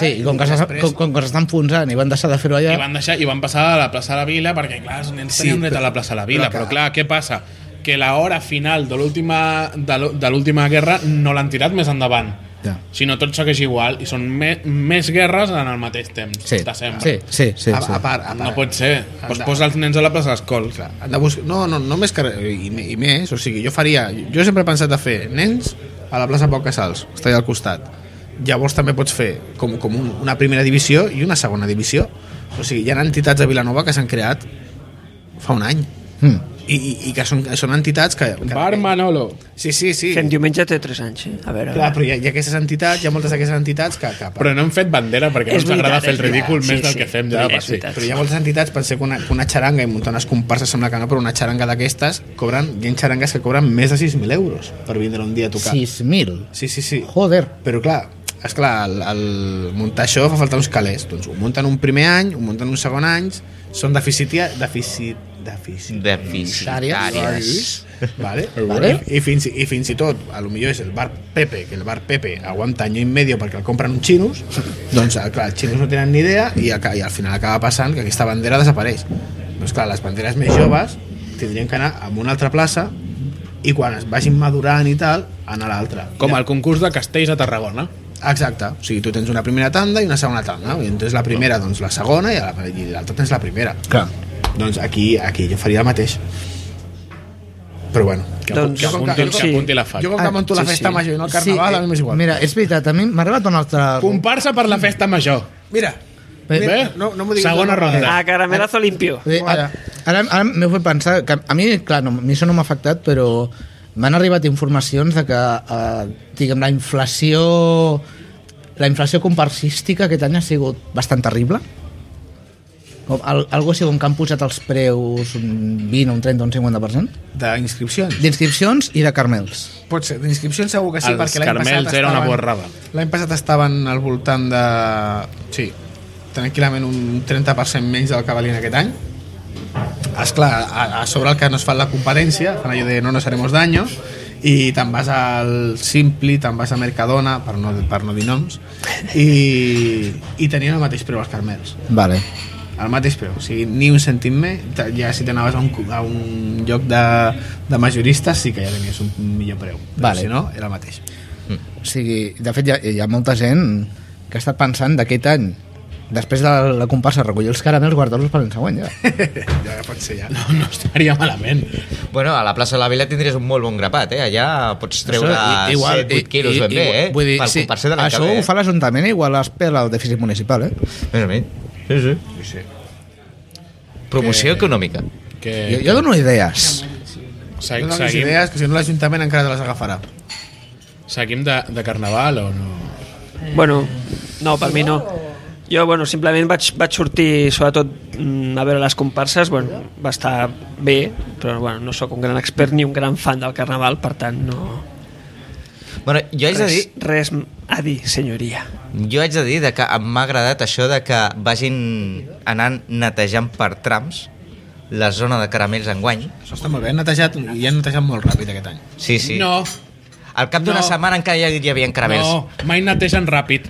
Speaker 4: sí, i com que s'ha- com, com que s'està enfonsant i van deixar de fer-ho
Speaker 1: I
Speaker 4: allà...
Speaker 1: van, deixar, I van passar a la plaça de la Vila perquè, clar, els nens sí,
Speaker 5: Sí,
Speaker 1: tenien dret a
Speaker 5: però-
Speaker 1: la plaça de la Vila.
Speaker 5: però
Speaker 1: Però, clar, què passa? Que l'hora final de l'última de l'ú- de l'última guerra no l'han tirat més endavant.
Speaker 4: Ja.
Speaker 1: Si no, tot segueix igual. I són me, més guerres en el mateix temps,
Speaker 4: Sí,
Speaker 1: de sempre.
Speaker 4: sí, sí, sí.
Speaker 5: a,
Speaker 4: sí.
Speaker 5: a part, a part,
Speaker 1: No pot ser. Doncs posa els nens a la plaça d'escola.
Speaker 5: clar, han de buscar, no, no, no més que, i, me- i més, o sigui, jo faria jo sempre he pensat de fer nens a la plaça Pau Casals, està allà al costat llavors també pots fer com, com un, una primera divisió i una segona divisió o sigui, hi ha entitats de Vilanova que s'han creat fa un any
Speaker 4: Mm.
Speaker 5: i, i, i que són, són entitats que, que
Speaker 1: Bar Manolo.
Speaker 5: sí, sí, sí
Speaker 2: Que en diumenge té 3 anys, eh? A veure, a
Speaker 5: Clar,
Speaker 2: veure.
Speaker 5: però hi ha, hi ha aquestes entitats, hi ha moltes d'aquestes entitats que, que
Speaker 1: Però no hem fet bandera perquè
Speaker 2: És
Speaker 1: no ens agrada
Speaker 2: veritat,
Speaker 1: fer el
Speaker 2: és veritat.
Speaker 1: ridícul més
Speaker 2: Sí,
Speaker 1: del
Speaker 2: sí.
Speaker 1: que fem ja.
Speaker 2: És
Speaker 1: va, sí.
Speaker 2: veritat.
Speaker 5: Però hi ha moltes entitats, pensé que una, que una xaranga i muntar unes comparses sembla que no, però una xaranga d'aquestes cobren, hi ha xarangues que cobren més de 6.000 euros per vindre un dia a tocar.
Speaker 4: 6.000.
Speaker 5: sí, sí. sí.
Speaker 4: Joder.
Speaker 5: Però clar, és clar, el, el muntar això fa falta uns calés. Doncs ho munten un primer any, ho munten un segon any, són deficitia, deficit, deficit,
Speaker 4: Deficitàries.
Speaker 3: Deficitàries.
Speaker 5: Vale?
Speaker 4: Vale.
Speaker 5: I, fins, I fins i tot, a lo millor és el bar Pepe, que el bar Pepe aguanta any i medio perquè el compren uns xinos, doncs eh, clar, els xinos no tenen ni idea i, aca- i al final acaba passant que aquesta bandera desapareix. Doncs clar, les banderes més joves tindrien que anar a una altra plaça i quan es vagin madurant i tal, anar a l'altra.
Speaker 1: Com el concurs de castells a Tarragona.
Speaker 5: Exacte, o sigui, tu tens una primera tanda i una segona tanda, i tens la primera, doncs la segona, i a la- i l'altra tens la primera.
Speaker 4: Clar.
Speaker 5: Doncs aquí, aquí jo faria el mateix. Però bueno, que,
Speaker 2: Doncs-
Speaker 5: que, com que,
Speaker 1: Apunti,
Speaker 5: jo
Speaker 1: que
Speaker 5: com-
Speaker 1: apunti la fac.
Speaker 5: jo com que
Speaker 4: Ah,
Speaker 5: monto la
Speaker 4: sí,
Speaker 5: festa
Speaker 4: sí. eh,
Speaker 5: major i no el carnaval, a mi m'és igual.
Speaker 4: Mira, és veritat, a mi m'ha arribat un altre...
Speaker 1: Comparsa per la festa major.
Speaker 5: mira,
Speaker 4: Bé,
Speaker 5: mira,
Speaker 1: bé.
Speaker 5: no, no m'ho diguis.
Speaker 1: Segona
Speaker 5: no,
Speaker 1: ronda.
Speaker 5: eh,
Speaker 2: A caramelazo limpio.
Speaker 4: Bé, ara, ara, ara m'heu fet pensar que a mi, clar, no, a mi això no m'ha afectat, però m'han arribat informacions de que, eh, diguem, la inflació la inflació comparsística aquest any ha sigut bastant terrible com, al, algo així com que han pujat els preus un 20, un 30, un 50%
Speaker 5: D'inscripcions.
Speaker 4: d'inscripcions i de carmels
Speaker 5: Pot ser, d'inscripcions segur que sí,
Speaker 1: Els
Speaker 5: perquè l'any passat
Speaker 1: Carmels era una
Speaker 5: estaven-
Speaker 1: borrada.
Speaker 5: L'any passat estaven al voltant de... Sí, tranquil·lament un 30% menys del que valien aquest any. Esclar, a, a sobre el que no es fa la competència, fan allò de no nos haremos daño, i te'n vas al Simpli, te'n vas a Mercadona, per no, per no dir noms, i, i tenien el mateix preu els Carmels
Speaker 4: vale,
Speaker 5: al mateix preu, o sigui, ni un centim més Ta- ja si t'anaves a, un, cu- a un lloc de, de majoristes sí que ja tenies un millor preu, però
Speaker 4: Vale.
Speaker 5: si no era el mateix
Speaker 4: o sigui, de fet hi ha, hi ha molta gent que ha estat pensant d'aquest any després de la, la comparsa recollir els caramels guardar-los per l'any següent ja.
Speaker 5: ja pot ser ja
Speaker 1: No, no estaria malament.
Speaker 3: Bueno, a la plaça de la Vila tindries un molt bon grapat, eh? Allà pots treure
Speaker 4: Això, i-
Speaker 3: 7-8
Speaker 4: i-
Speaker 3: quilos
Speaker 4: i-
Speaker 3: ben bé,
Speaker 4: igual-
Speaker 3: eh?
Speaker 4: Vull dir,
Speaker 3: per
Speaker 4: sí,
Speaker 3: compar-se de l'any
Speaker 4: això
Speaker 3: que ve,
Speaker 4: ho fa l'Ajuntament, igual es pela el dèficit municipal, eh?
Speaker 3: eh? Més o menys. Sí, sí.
Speaker 5: sí, sí.
Speaker 3: Promoció econòmica.
Speaker 4: Jo,
Speaker 1: Que
Speaker 4: jo dono idees.
Speaker 1: seg
Speaker 5: Dono les
Speaker 1: seguim,
Speaker 5: idees que si no l'Ajuntament encara te les agafarà
Speaker 1: seguim de, de carnaval o no?
Speaker 2: Bueno, no, per mi no. Jo, bueno, simplement vaig, vaig sortir, sobretot, mm, a veure les comparses, bueno, va estar bé, però bueno, no sóc un gran expert ni un gran fan del carnaval, per tant, no...
Speaker 3: Bueno, jo haig de dir,
Speaker 2: Res, res a dir, senyoria.
Speaker 3: jo haig de dir de que em m'ha agradat això de que vagin anant netejant per trams la zona de caramels enguany.
Speaker 5: això està molt bé, han netejat i han netejat molt ràpid aquest any
Speaker 3: Sí, sí.
Speaker 1: No,
Speaker 3: Al cap d'una
Speaker 1: No.
Speaker 3: setmana encara hi, hi havia caramels.
Speaker 1: no, mai netegen ràpid.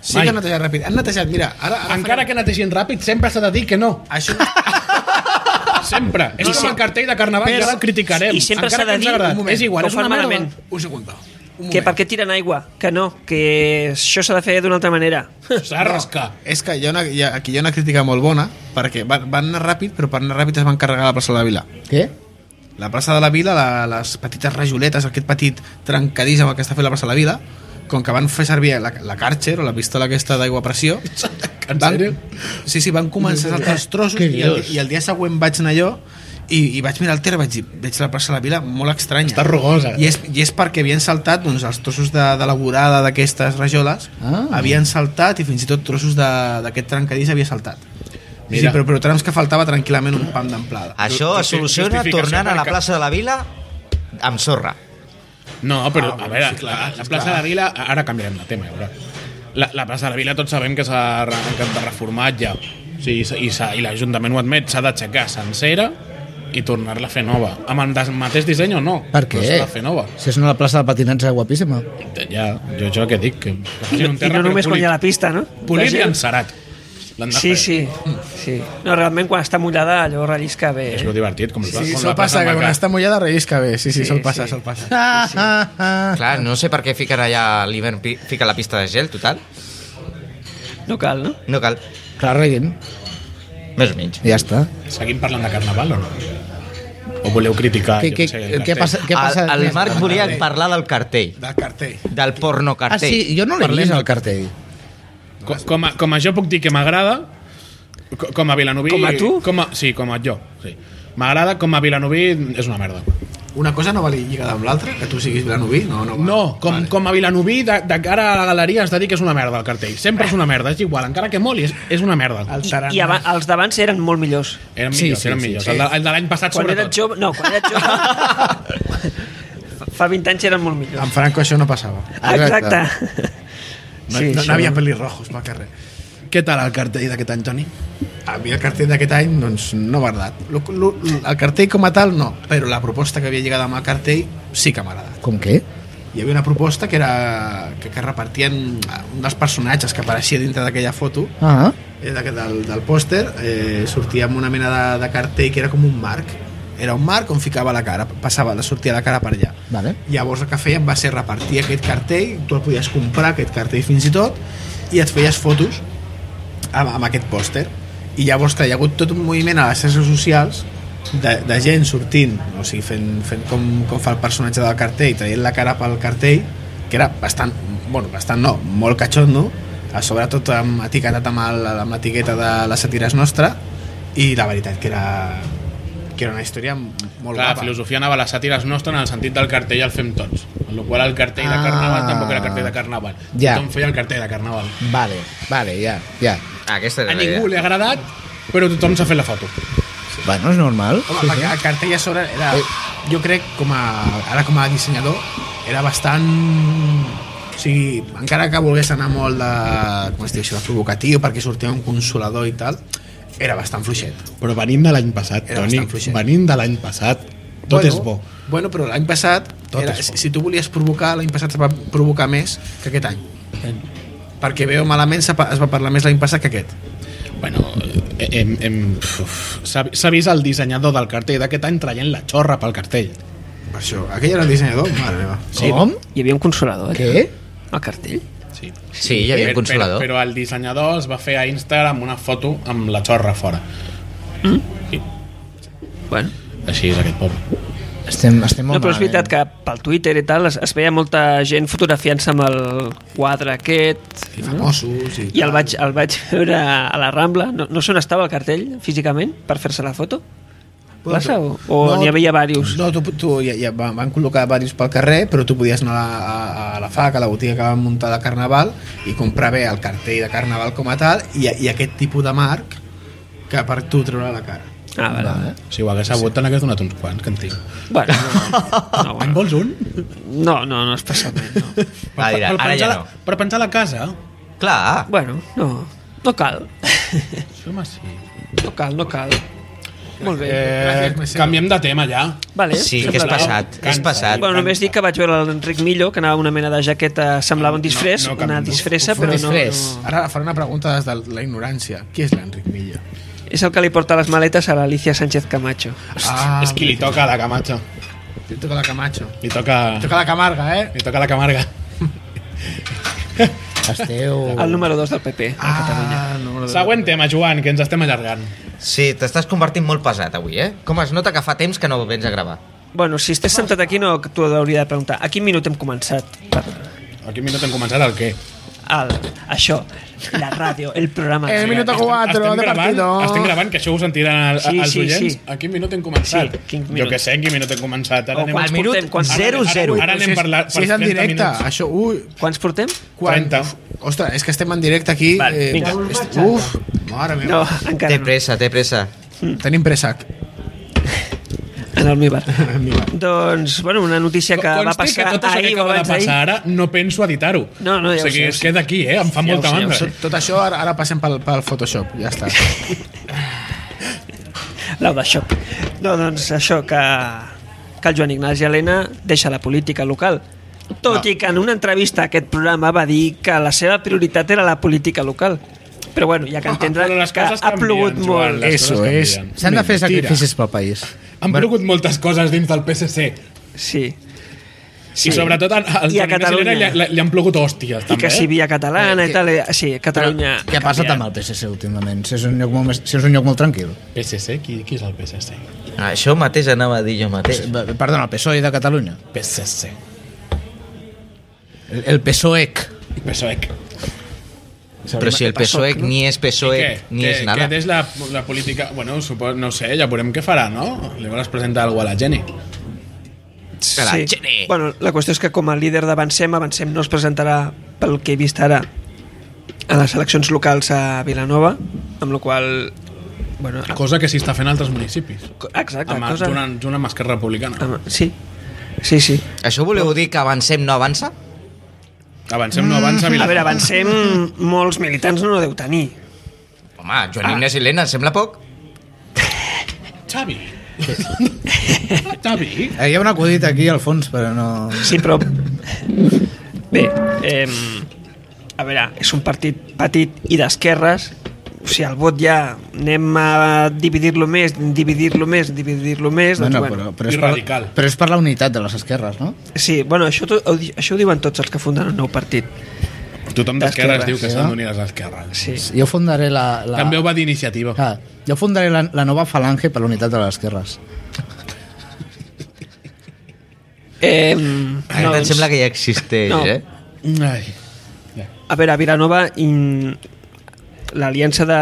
Speaker 5: sí
Speaker 1: Mai.
Speaker 5: que han netejat ràpid, han netejat, mira ara, ara
Speaker 1: Encara que netegin ràpid, sempre s'ha de dir que no.
Speaker 5: això no
Speaker 1: Sempre. És com el cartell de carnaval,
Speaker 2: Però-
Speaker 1: ja el criticarem.
Speaker 2: I sempre
Speaker 1: Encara
Speaker 2: s'ha de
Speaker 1: que ens
Speaker 2: dir-
Speaker 1: ha agradat.
Speaker 2: un moment.
Speaker 1: És igual,
Speaker 2: Que ho
Speaker 1: és
Speaker 2: fan
Speaker 1: una merda.
Speaker 2: malament.
Speaker 5: un segon un moment.
Speaker 2: Que per què tiren aigua? Que no, que això s'ha de fer d'una altra manera.
Speaker 1: S'ha de rascar.
Speaker 5: és que hi ha una, hi ha, aquí hi ha una crítica molt bona perquè van, van anar ràpid però per anar ràpid es van carregar la plaça de la Vila
Speaker 4: Què?
Speaker 5: la plaça de la Vila, la, les petites rajoletes, aquest petit trencadís amb el que està fent la plaça de la Vila, com que van fer servir la, la Karcher o la pistola aquesta d'aigua a pressió
Speaker 1: En sèrio?
Speaker 5: sí, sí, van començar a saltar els trossos
Speaker 6: Què
Speaker 5: i el,
Speaker 6: dius?
Speaker 5: i el dia següent vaig anar jo i, i vaig mirar el terra vaig dir, veig la plaça de la Vila molt estranya
Speaker 1: Està rugosa.
Speaker 5: i és, i és perquè havien saltat doncs, els trossos de, de la vorada d'aquestes rajoles
Speaker 4: Ah.
Speaker 5: havien saltat i fins i tot trossos de- d'aquest trencadís havia saltat Sí,
Speaker 1: Mira.
Speaker 5: sí, però, però trams que faltava tranquil·lament un pam d'amplada
Speaker 3: Això es soluciona
Speaker 1: Justificació
Speaker 3: tornant a la
Speaker 1: perquè-
Speaker 3: plaça de la Vila amb sorra.
Speaker 1: No, però
Speaker 5: Ah,
Speaker 1: a
Speaker 5: bueno,
Speaker 1: veure,
Speaker 5: sí, clar,
Speaker 1: la, la
Speaker 5: sí,
Speaker 1: plaça de
Speaker 5: clar.
Speaker 1: la Vila, ara canviarem de tema, a veure. La, la plaça de la Vila tots sabem que s'ha re- que de reformat ja. O sigui, s'ha- i, s'ha- i l'Ajuntament ho admet, s'ha d'aixecar sencera i tornar-la a fer nova. Amb el des- mateix disseny o no?
Speaker 4: Per
Speaker 1: però
Speaker 4: què?
Speaker 1: S'ha de fer nova.
Speaker 4: Si és una plaça de patinatge guapíssima.
Speaker 1: Ja, jo, jo que dic, que, que
Speaker 2: I,
Speaker 1: facin un
Speaker 2: i
Speaker 1: terra,
Speaker 2: no
Speaker 1: però
Speaker 2: només quan hi
Speaker 1: polit,
Speaker 2: ha la pista, no? La
Speaker 1: polit i
Speaker 2: gent-
Speaker 1: encerat. L'han de
Speaker 2: Sí,
Speaker 1: fer.
Speaker 2: sí, sí. No, realment quan està mullada allò rellisca bé.
Speaker 1: És
Speaker 2: eh?
Speaker 1: lo divertit, com es va.
Speaker 5: Sí,
Speaker 1: com
Speaker 5: sol
Speaker 1: la plaça
Speaker 5: passa, que
Speaker 1: del
Speaker 5: quan
Speaker 1: Mercat.
Speaker 5: està mullada rellisca bé. Sí, sí,
Speaker 2: Sí,
Speaker 5: sol passa,
Speaker 2: sí.
Speaker 5: sol passa.
Speaker 4: Ah, ah, ah.
Speaker 3: Clar, no sé per què fiquen allà l'hivern, pi- fica la pista de gel, total.
Speaker 2: No cal, no?
Speaker 3: No cal,
Speaker 4: Clar, reguin.
Speaker 3: més o menys.
Speaker 4: Ja està.
Speaker 1: Seguim parlant de carnaval o no? O voleu criticar?
Speaker 4: Què,
Speaker 1: jo
Speaker 4: què,
Speaker 1: sé, el
Speaker 4: què
Speaker 1: cartell?
Speaker 4: passa? Què passa? eh.
Speaker 3: El, el Marc volia parlar del cartell,
Speaker 5: Del cartell.
Speaker 3: del porno
Speaker 4: Ah,
Speaker 3: cartell.
Speaker 4: sí, jo no l'he
Speaker 1: Parlem.
Speaker 4: vist, el cartell.
Speaker 1: Com, com, a, com a jo puc dir que m'agrada, co- com a Vilanoví...
Speaker 2: Com a tu?
Speaker 1: Com a, sí, com a jo. Sí. M'agrada, com a Vilanoví és una merda.
Speaker 5: Una cosa no va lligada amb l'altra, que tu siguis vilanoví, no, no va.
Speaker 1: No, com,
Speaker 5: Vale.
Speaker 1: com a Vilanoví, de, de cara a la galeria, has de dir que és una merda el cartell. Sempre és una merda, és igual, encara que moli, és, és una merda.
Speaker 5: El
Speaker 2: I,
Speaker 5: tarannà.
Speaker 2: i ava- els d'abans eren molt millors.
Speaker 1: Eren millors,
Speaker 4: Ah, Sí,
Speaker 1: sí,
Speaker 4: sí,
Speaker 1: eren
Speaker 4: sí,
Speaker 1: millors.
Speaker 4: sí.
Speaker 1: El de, el de l'any passat,
Speaker 2: Quan eres
Speaker 1: sobretot.
Speaker 2: jove... No, quan eres jove... Fa 20 anys eren molt millors.
Speaker 5: Amb Franco això no passava.
Speaker 2: Exacte.
Speaker 5: No, sí, no,
Speaker 2: això-
Speaker 5: no havia pelirrojos pel carrer. Què tal el cartell d'aquest any, Toni? A mi el cartell d'aquest any doncs, no m'ha agradat. Lo- lo- El cartell com a tal no, però la proposta que havia llegat amb el cartell sí que m'ha agradat.
Speaker 4: Com què?
Speaker 5: Hi havia una proposta que era que, que repartien eh, un dels personatges que apareixia dintre d'aquella foto
Speaker 4: Ah,
Speaker 5: eh, d'aquest- del, del pòster eh, sortia amb una mena de, de cartell que era com un marc era un marc on ficava la cara passava, la sortia la cara per allà
Speaker 4: vale.
Speaker 5: llavors el que feien va ser repartir aquest cartell tu el podies comprar aquest cartell fins i tot i et feies fotos amb, amb aquest pòster i llavors clar, hi ha hagut tot un moviment a les xarxes socials de, de gent sortint o sigui, fent, fent com, com fa el personatge del cartell traient la cara pel cartell que era bastant, bueno, bastant no molt catxondo a sobre tot amb, etiquetat amb, el, amb l'etiqueta de la sàtira és nostra i la veritat que era que era una història molt
Speaker 1: Clar, la
Speaker 5: guapa
Speaker 1: filosofia anava a les sàtires nostres en el sentit del cartell el fem tots. En la qual el cartell de carnaval
Speaker 4: Ah.
Speaker 1: tampoc era cartell de carnaval.
Speaker 4: Ja.
Speaker 1: Tothom feia el cartell de carnaval.
Speaker 4: Vale, vale, ja, ja.
Speaker 3: Ah, Aquesta
Speaker 1: A
Speaker 3: era la
Speaker 1: ningú
Speaker 3: idea.
Speaker 1: li ha agradat, però tothom s'ha fet la foto.
Speaker 4: Bueno, és normal.
Speaker 5: Home, perquè el cartell a sobre era...
Speaker 4: Eh.
Speaker 5: Jo crec, com a, ara com a dissenyador, era bastant... O sigui, encara que volgués anar molt de... Com es diu això? de Provocatiu, perquè sortia un consolador i tal, era bastant fluixet.
Speaker 1: Però venint de l'any passat,
Speaker 5: Era bastant fluixet.
Speaker 1: venint de l'any passat, tot
Speaker 5: Bueno,
Speaker 1: és bo.
Speaker 5: Bueno, però l'any passat,
Speaker 1: Tot
Speaker 5: era,
Speaker 1: és bo.
Speaker 5: si, si tu volies provocar, l'any passat es va provocar més que aquest any. Perquè veu malament s'ha pa- es va parlar més l'any passat que aquest.
Speaker 1: Bueno, eh, hem, hem, uf, s'ha s'ha vist el dissenyador del cartell d'aquest any traient la xorra pel cartell.
Speaker 5: Per això, aquell era el dissenyador? Mare meva.
Speaker 4: Com?
Speaker 2: Hi havia un consolador, eh?
Speaker 4: Què?
Speaker 2: El cartell.
Speaker 1: Sí.
Speaker 3: Sí, hi havia un consolador.
Speaker 1: Però, però el dissenyador es va fer a Instagram una foto amb la xorra fora.
Speaker 2: Bueno.
Speaker 1: Així és aquest poble.
Speaker 4: Estem, estem molt
Speaker 2: No, però és veritat que pel Twitter i tal es, es veia molta gent fotografiant-se amb el quadre aquest.
Speaker 5: I famosos i...
Speaker 2: I el vaig, el vaig veure a la Rambla. No, no sé on estava el cartell, físicament, per fer-se la foto. Plaça o, o n'hi havia diversos?
Speaker 5: No, tu, tu ja, ja van, van col·locar diversos pel carrer, però tu podies anar a, a, a la FAC, a la botiga que van muntar de Carnaval, i comprar bé el cartell de Carnaval com a tal, i, i aquest tipus de marc que per tu treurà la cara.
Speaker 2: Ah, vale.
Speaker 1: Si ho hagués sabut, te n'hagués donat uns quants, que en tinc.
Speaker 2: Bueno, no, no,
Speaker 1: Ah, En
Speaker 2: bueno.
Speaker 1: vols un?
Speaker 2: no, no, no especialment, no.
Speaker 3: Ah, dirà,
Speaker 1: per,
Speaker 3: ara
Speaker 1: penjar
Speaker 3: ja
Speaker 1: la,
Speaker 3: no.
Speaker 1: per penjar la casa?
Speaker 3: Clar,
Speaker 2: Bueno, no, no cal.
Speaker 1: Sí, home, sí.
Speaker 2: No cal, no cal. Molt bé.
Speaker 1: Eh,
Speaker 5: Gràcies,
Speaker 1: canviem de tema ja.
Speaker 2: vale.
Speaker 3: sí que és
Speaker 1: Sembla-
Speaker 3: passat, és
Speaker 1: Cansa.
Speaker 3: passat.
Speaker 2: Bueno, només dic que vaig veure l'Enric Millo, que anava amb una mena de jaqueta, semblava un disfrés,
Speaker 1: No, no, que-
Speaker 2: una disfressa, però no,
Speaker 4: disfrés.
Speaker 2: no...
Speaker 5: Ara faré una pregunta des de la ignorància. Qui és l'Enric Milla?
Speaker 2: És el que li porta les maletes a l'Alicia Sánchez Camacho.
Speaker 5: Ah,
Speaker 1: És qui li toca a la Camacho.
Speaker 5: Li toca la Camacho.
Speaker 1: Li toca,
Speaker 5: Li toca la Camarga, eh?
Speaker 1: li toca a la Camarga.
Speaker 4: Esteu...
Speaker 2: El número 2 del PP.
Speaker 4: Oh.
Speaker 5: Ah, no, no, no.
Speaker 4: Ah,
Speaker 1: Següent tema, Joan, que ens estem allargant.
Speaker 3: Sí, t'estàs convertint molt pesat avui, eh? Com es nota que fa temps que no vens a gravar.
Speaker 2: Bueno, si estàs sentat aquí no t'ho hauria de preguntar. A quin minut hem començat?
Speaker 1: A quin minut hem començat el què?
Speaker 2: El, això, la ràdio, el programa.
Speaker 5: El minuto cuatro
Speaker 1: estem
Speaker 5: de
Speaker 1: gravant,
Speaker 5: partido.
Speaker 1: estem gravant, que això ho sentiran el,
Speaker 2: Sí,
Speaker 1: els
Speaker 2: sí,
Speaker 1: oients.
Speaker 2: sí. Oh,
Speaker 1: A quin minut hem començat?
Speaker 2: Sí, quin
Speaker 1: jo
Speaker 2: minut.
Speaker 1: que sé en quin minut hem començat. Ara
Speaker 2: O
Speaker 1: anem
Speaker 2: quants
Speaker 1: al
Speaker 2: portem?
Speaker 3: minut
Speaker 2: Quants-
Speaker 1: Ara-
Speaker 3: zero,
Speaker 1: ara-
Speaker 3: zero.
Speaker 1: Ara anem
Speaker 5: si,
Speaker 1: per, la,
Speaker 5: si
Speaker 1: per
Speaker 5: és en
Speaker 1: 30
Speaker 5: directe,
Speaker 1: minuts.
Speaker 5: això... Ui,
Speaker 2: Quants portem?
Speaker 1: 30.
Speaker 5: Ostres, és que estem en directe aquí. eh,
Speaker 2: Vale, vinga.
Speaker 5: est- uf, mare meva.
Speaker 2: No,
Speaker 5: No.
Speaker 2: encara
Speaker 3: Té
Speaker 2: no.
Speaker 3: pressa, té pressa.
Speaker 5: Tenim préssec.
Speaker 2: En el mi bar. doncs, bueno, una notícia que
Speaker 1: Consti
Speaker 2: va passar
Speaker 1: que tot això
Speaker 2: ahir
Speaker 1: que
Speaker 2: o
Speaker 1: acaba de
Speaker 2: abans d'ahir.
Speaker 1: passar ara no penso editar-ho.
Speaker 2: No, no, ja
Speaker 1: o
Speaker 2: ho sé,
Speaker 1: sigui,
Speaker 2: ja ho
Speaker 1: es
Speaker 2: sé.
Speaker 1: queda aquí, eh? Em fa
Speaker 2: Ja ho
Speaker 1: molta
Speaker 2: sé, ja ho
Speaker 1: mandra.
Speaker 2: sé.
Speaker 5: Tot això ara, ara passem pel, pel Photoshop, ja està.
Speaker 2: L'Audashop. No, doncs això, que, que el Joan Ignasi Helena deixa la política local. Tot i que en una entrevista a aquest programa va dir que la seva prioritat era la política local. Però bueno, ja que entendran
Speaker 1: Ah, Però les
Speaker 2: que
Speaker 1: coses
Speaker 2: ha plogut
Speaker 1: canvien, Joan,
Speaker 2: molt.
Speaker 1: les
Speaker 5: Eso
Speaker 1: coses
Speaker 5: es.
Speaker 1: canvien.
Speaker 4: S'han de fer
Speaker 5: Mentira.
Speaker 4: sacrificis pel país.
Speaker 1: Han plogut moltes coses dins del PSC.
Speaker 2: Sí.
Speaker 1: Sí. I sobretot al, al
Speaker 2: I a
Speaker 1: Joan Ignasi
Speaker 2: Catalunya.
Speaker 1: Elena li, li, li han plogut hòsties,
Speaker 2: I
Speaker 1: també. eh?
Speaker 2: que si via catalana i tal, eh, sí, Catalunya...
Speaker 4: Què ha passat amb el PSC últimament? Si és un lloc molt, més, si és un lloc molt tranquil.
Speaker 1: PSC? Qui, qui és el PSC?
Speaker 3: Això mateix anava a dir jo mateix.
Speaker 4: Eh, Perdona, el PSOE de Catalunya.
Speaker 1: PSC.
Speaker 4: El, el PSOEC.
Speaker 1: PSOE.
Speaker 3: Però si el PSOE E ni és PSOE ni
Speaker 1: que,
Speaker 3: és
Speaker 1: que
Speaker 3: nada.
Speaker 1: des la, la política... Bueno, supos, no ho sé, ja veurem què farà, no? Li vols presentar alguna cosa a la Jenny.
Speaker 3: Espera, Jenny.
Speaker 2: Bueno, la qüestió és que com a líder d'Avancem, Avancem no es presentarà pel que he vist ara a les eleccions locals a Vilanova, amb la qual cosa, bueno,
Speaker 1: Cosa que s'hi està fent a altres municipis.
Speaker 2: co- exacte,
Speaker 1: Amb,
Speaker 2: cosa...
Speaker 1: junt, amb- junt amb Esquerra Republicana.
Speaker 2: Amb- Sí, sí, sí.
Speaker 3: Això voleu dir que avancem no avança?
Speaker 1: Avancem,
Speaker 2: Mm.
Speaker 1: no avança
Speaker 2: A veure,
Speaker 1: Vilanova.
Speaker 2: avancem, molts militants no ho deu tenir.
Speaker 3: Home,
Speaker 1: Ah.
Speaker 3: Joan Ignasi Helena, em sembla poc.
Speaker 1: Xavi. Xavi.
Speaker 4: Eh, hi ha un acudit aquí al fons, però no...
Speaker 2: Sí, però... Bé, eh, a veure, és un partit petit i d'esquerres, o sigui, el vot ja anem a dividir-lo més, dividir-lo més, dividir-lo més, doncs
Speaker 4: Bueno,
Speaker 2: bueno.
Speaker 4: però, però, és
Speaker 1: I
Speaker 4: per,
Speaker 1: radical.
Speaker 4: però és per la unitat de les esquerres, no?
Speaker 2: Sí, bueno, això, to- ho di- això ho diuen tots els que funden el nou partit.
Speaker 1: Tothom d'esquerra es diu que
Speaker 4: D'esquerres,
Speaker 1: s'han
Speaker 4: no?
Speaker 1: d'unir a les esquerres.
Speaker 2: Sí.
Speaker 4: Jo fundaré la... la...
Speaker 1: També ho va dir iniciativa.
Speaker 4: Clar, jo fundaré la, la nova falange per la unitat de les esquerres.
Speaker 2: Eh, no,
Speaker 3: Em sembla que ja existeix,
Speaker 2: No.
Speaker 3: eh?
Speaker 1: Ai.
Speaker 2: A veure, a Vilanova in... l'aliança de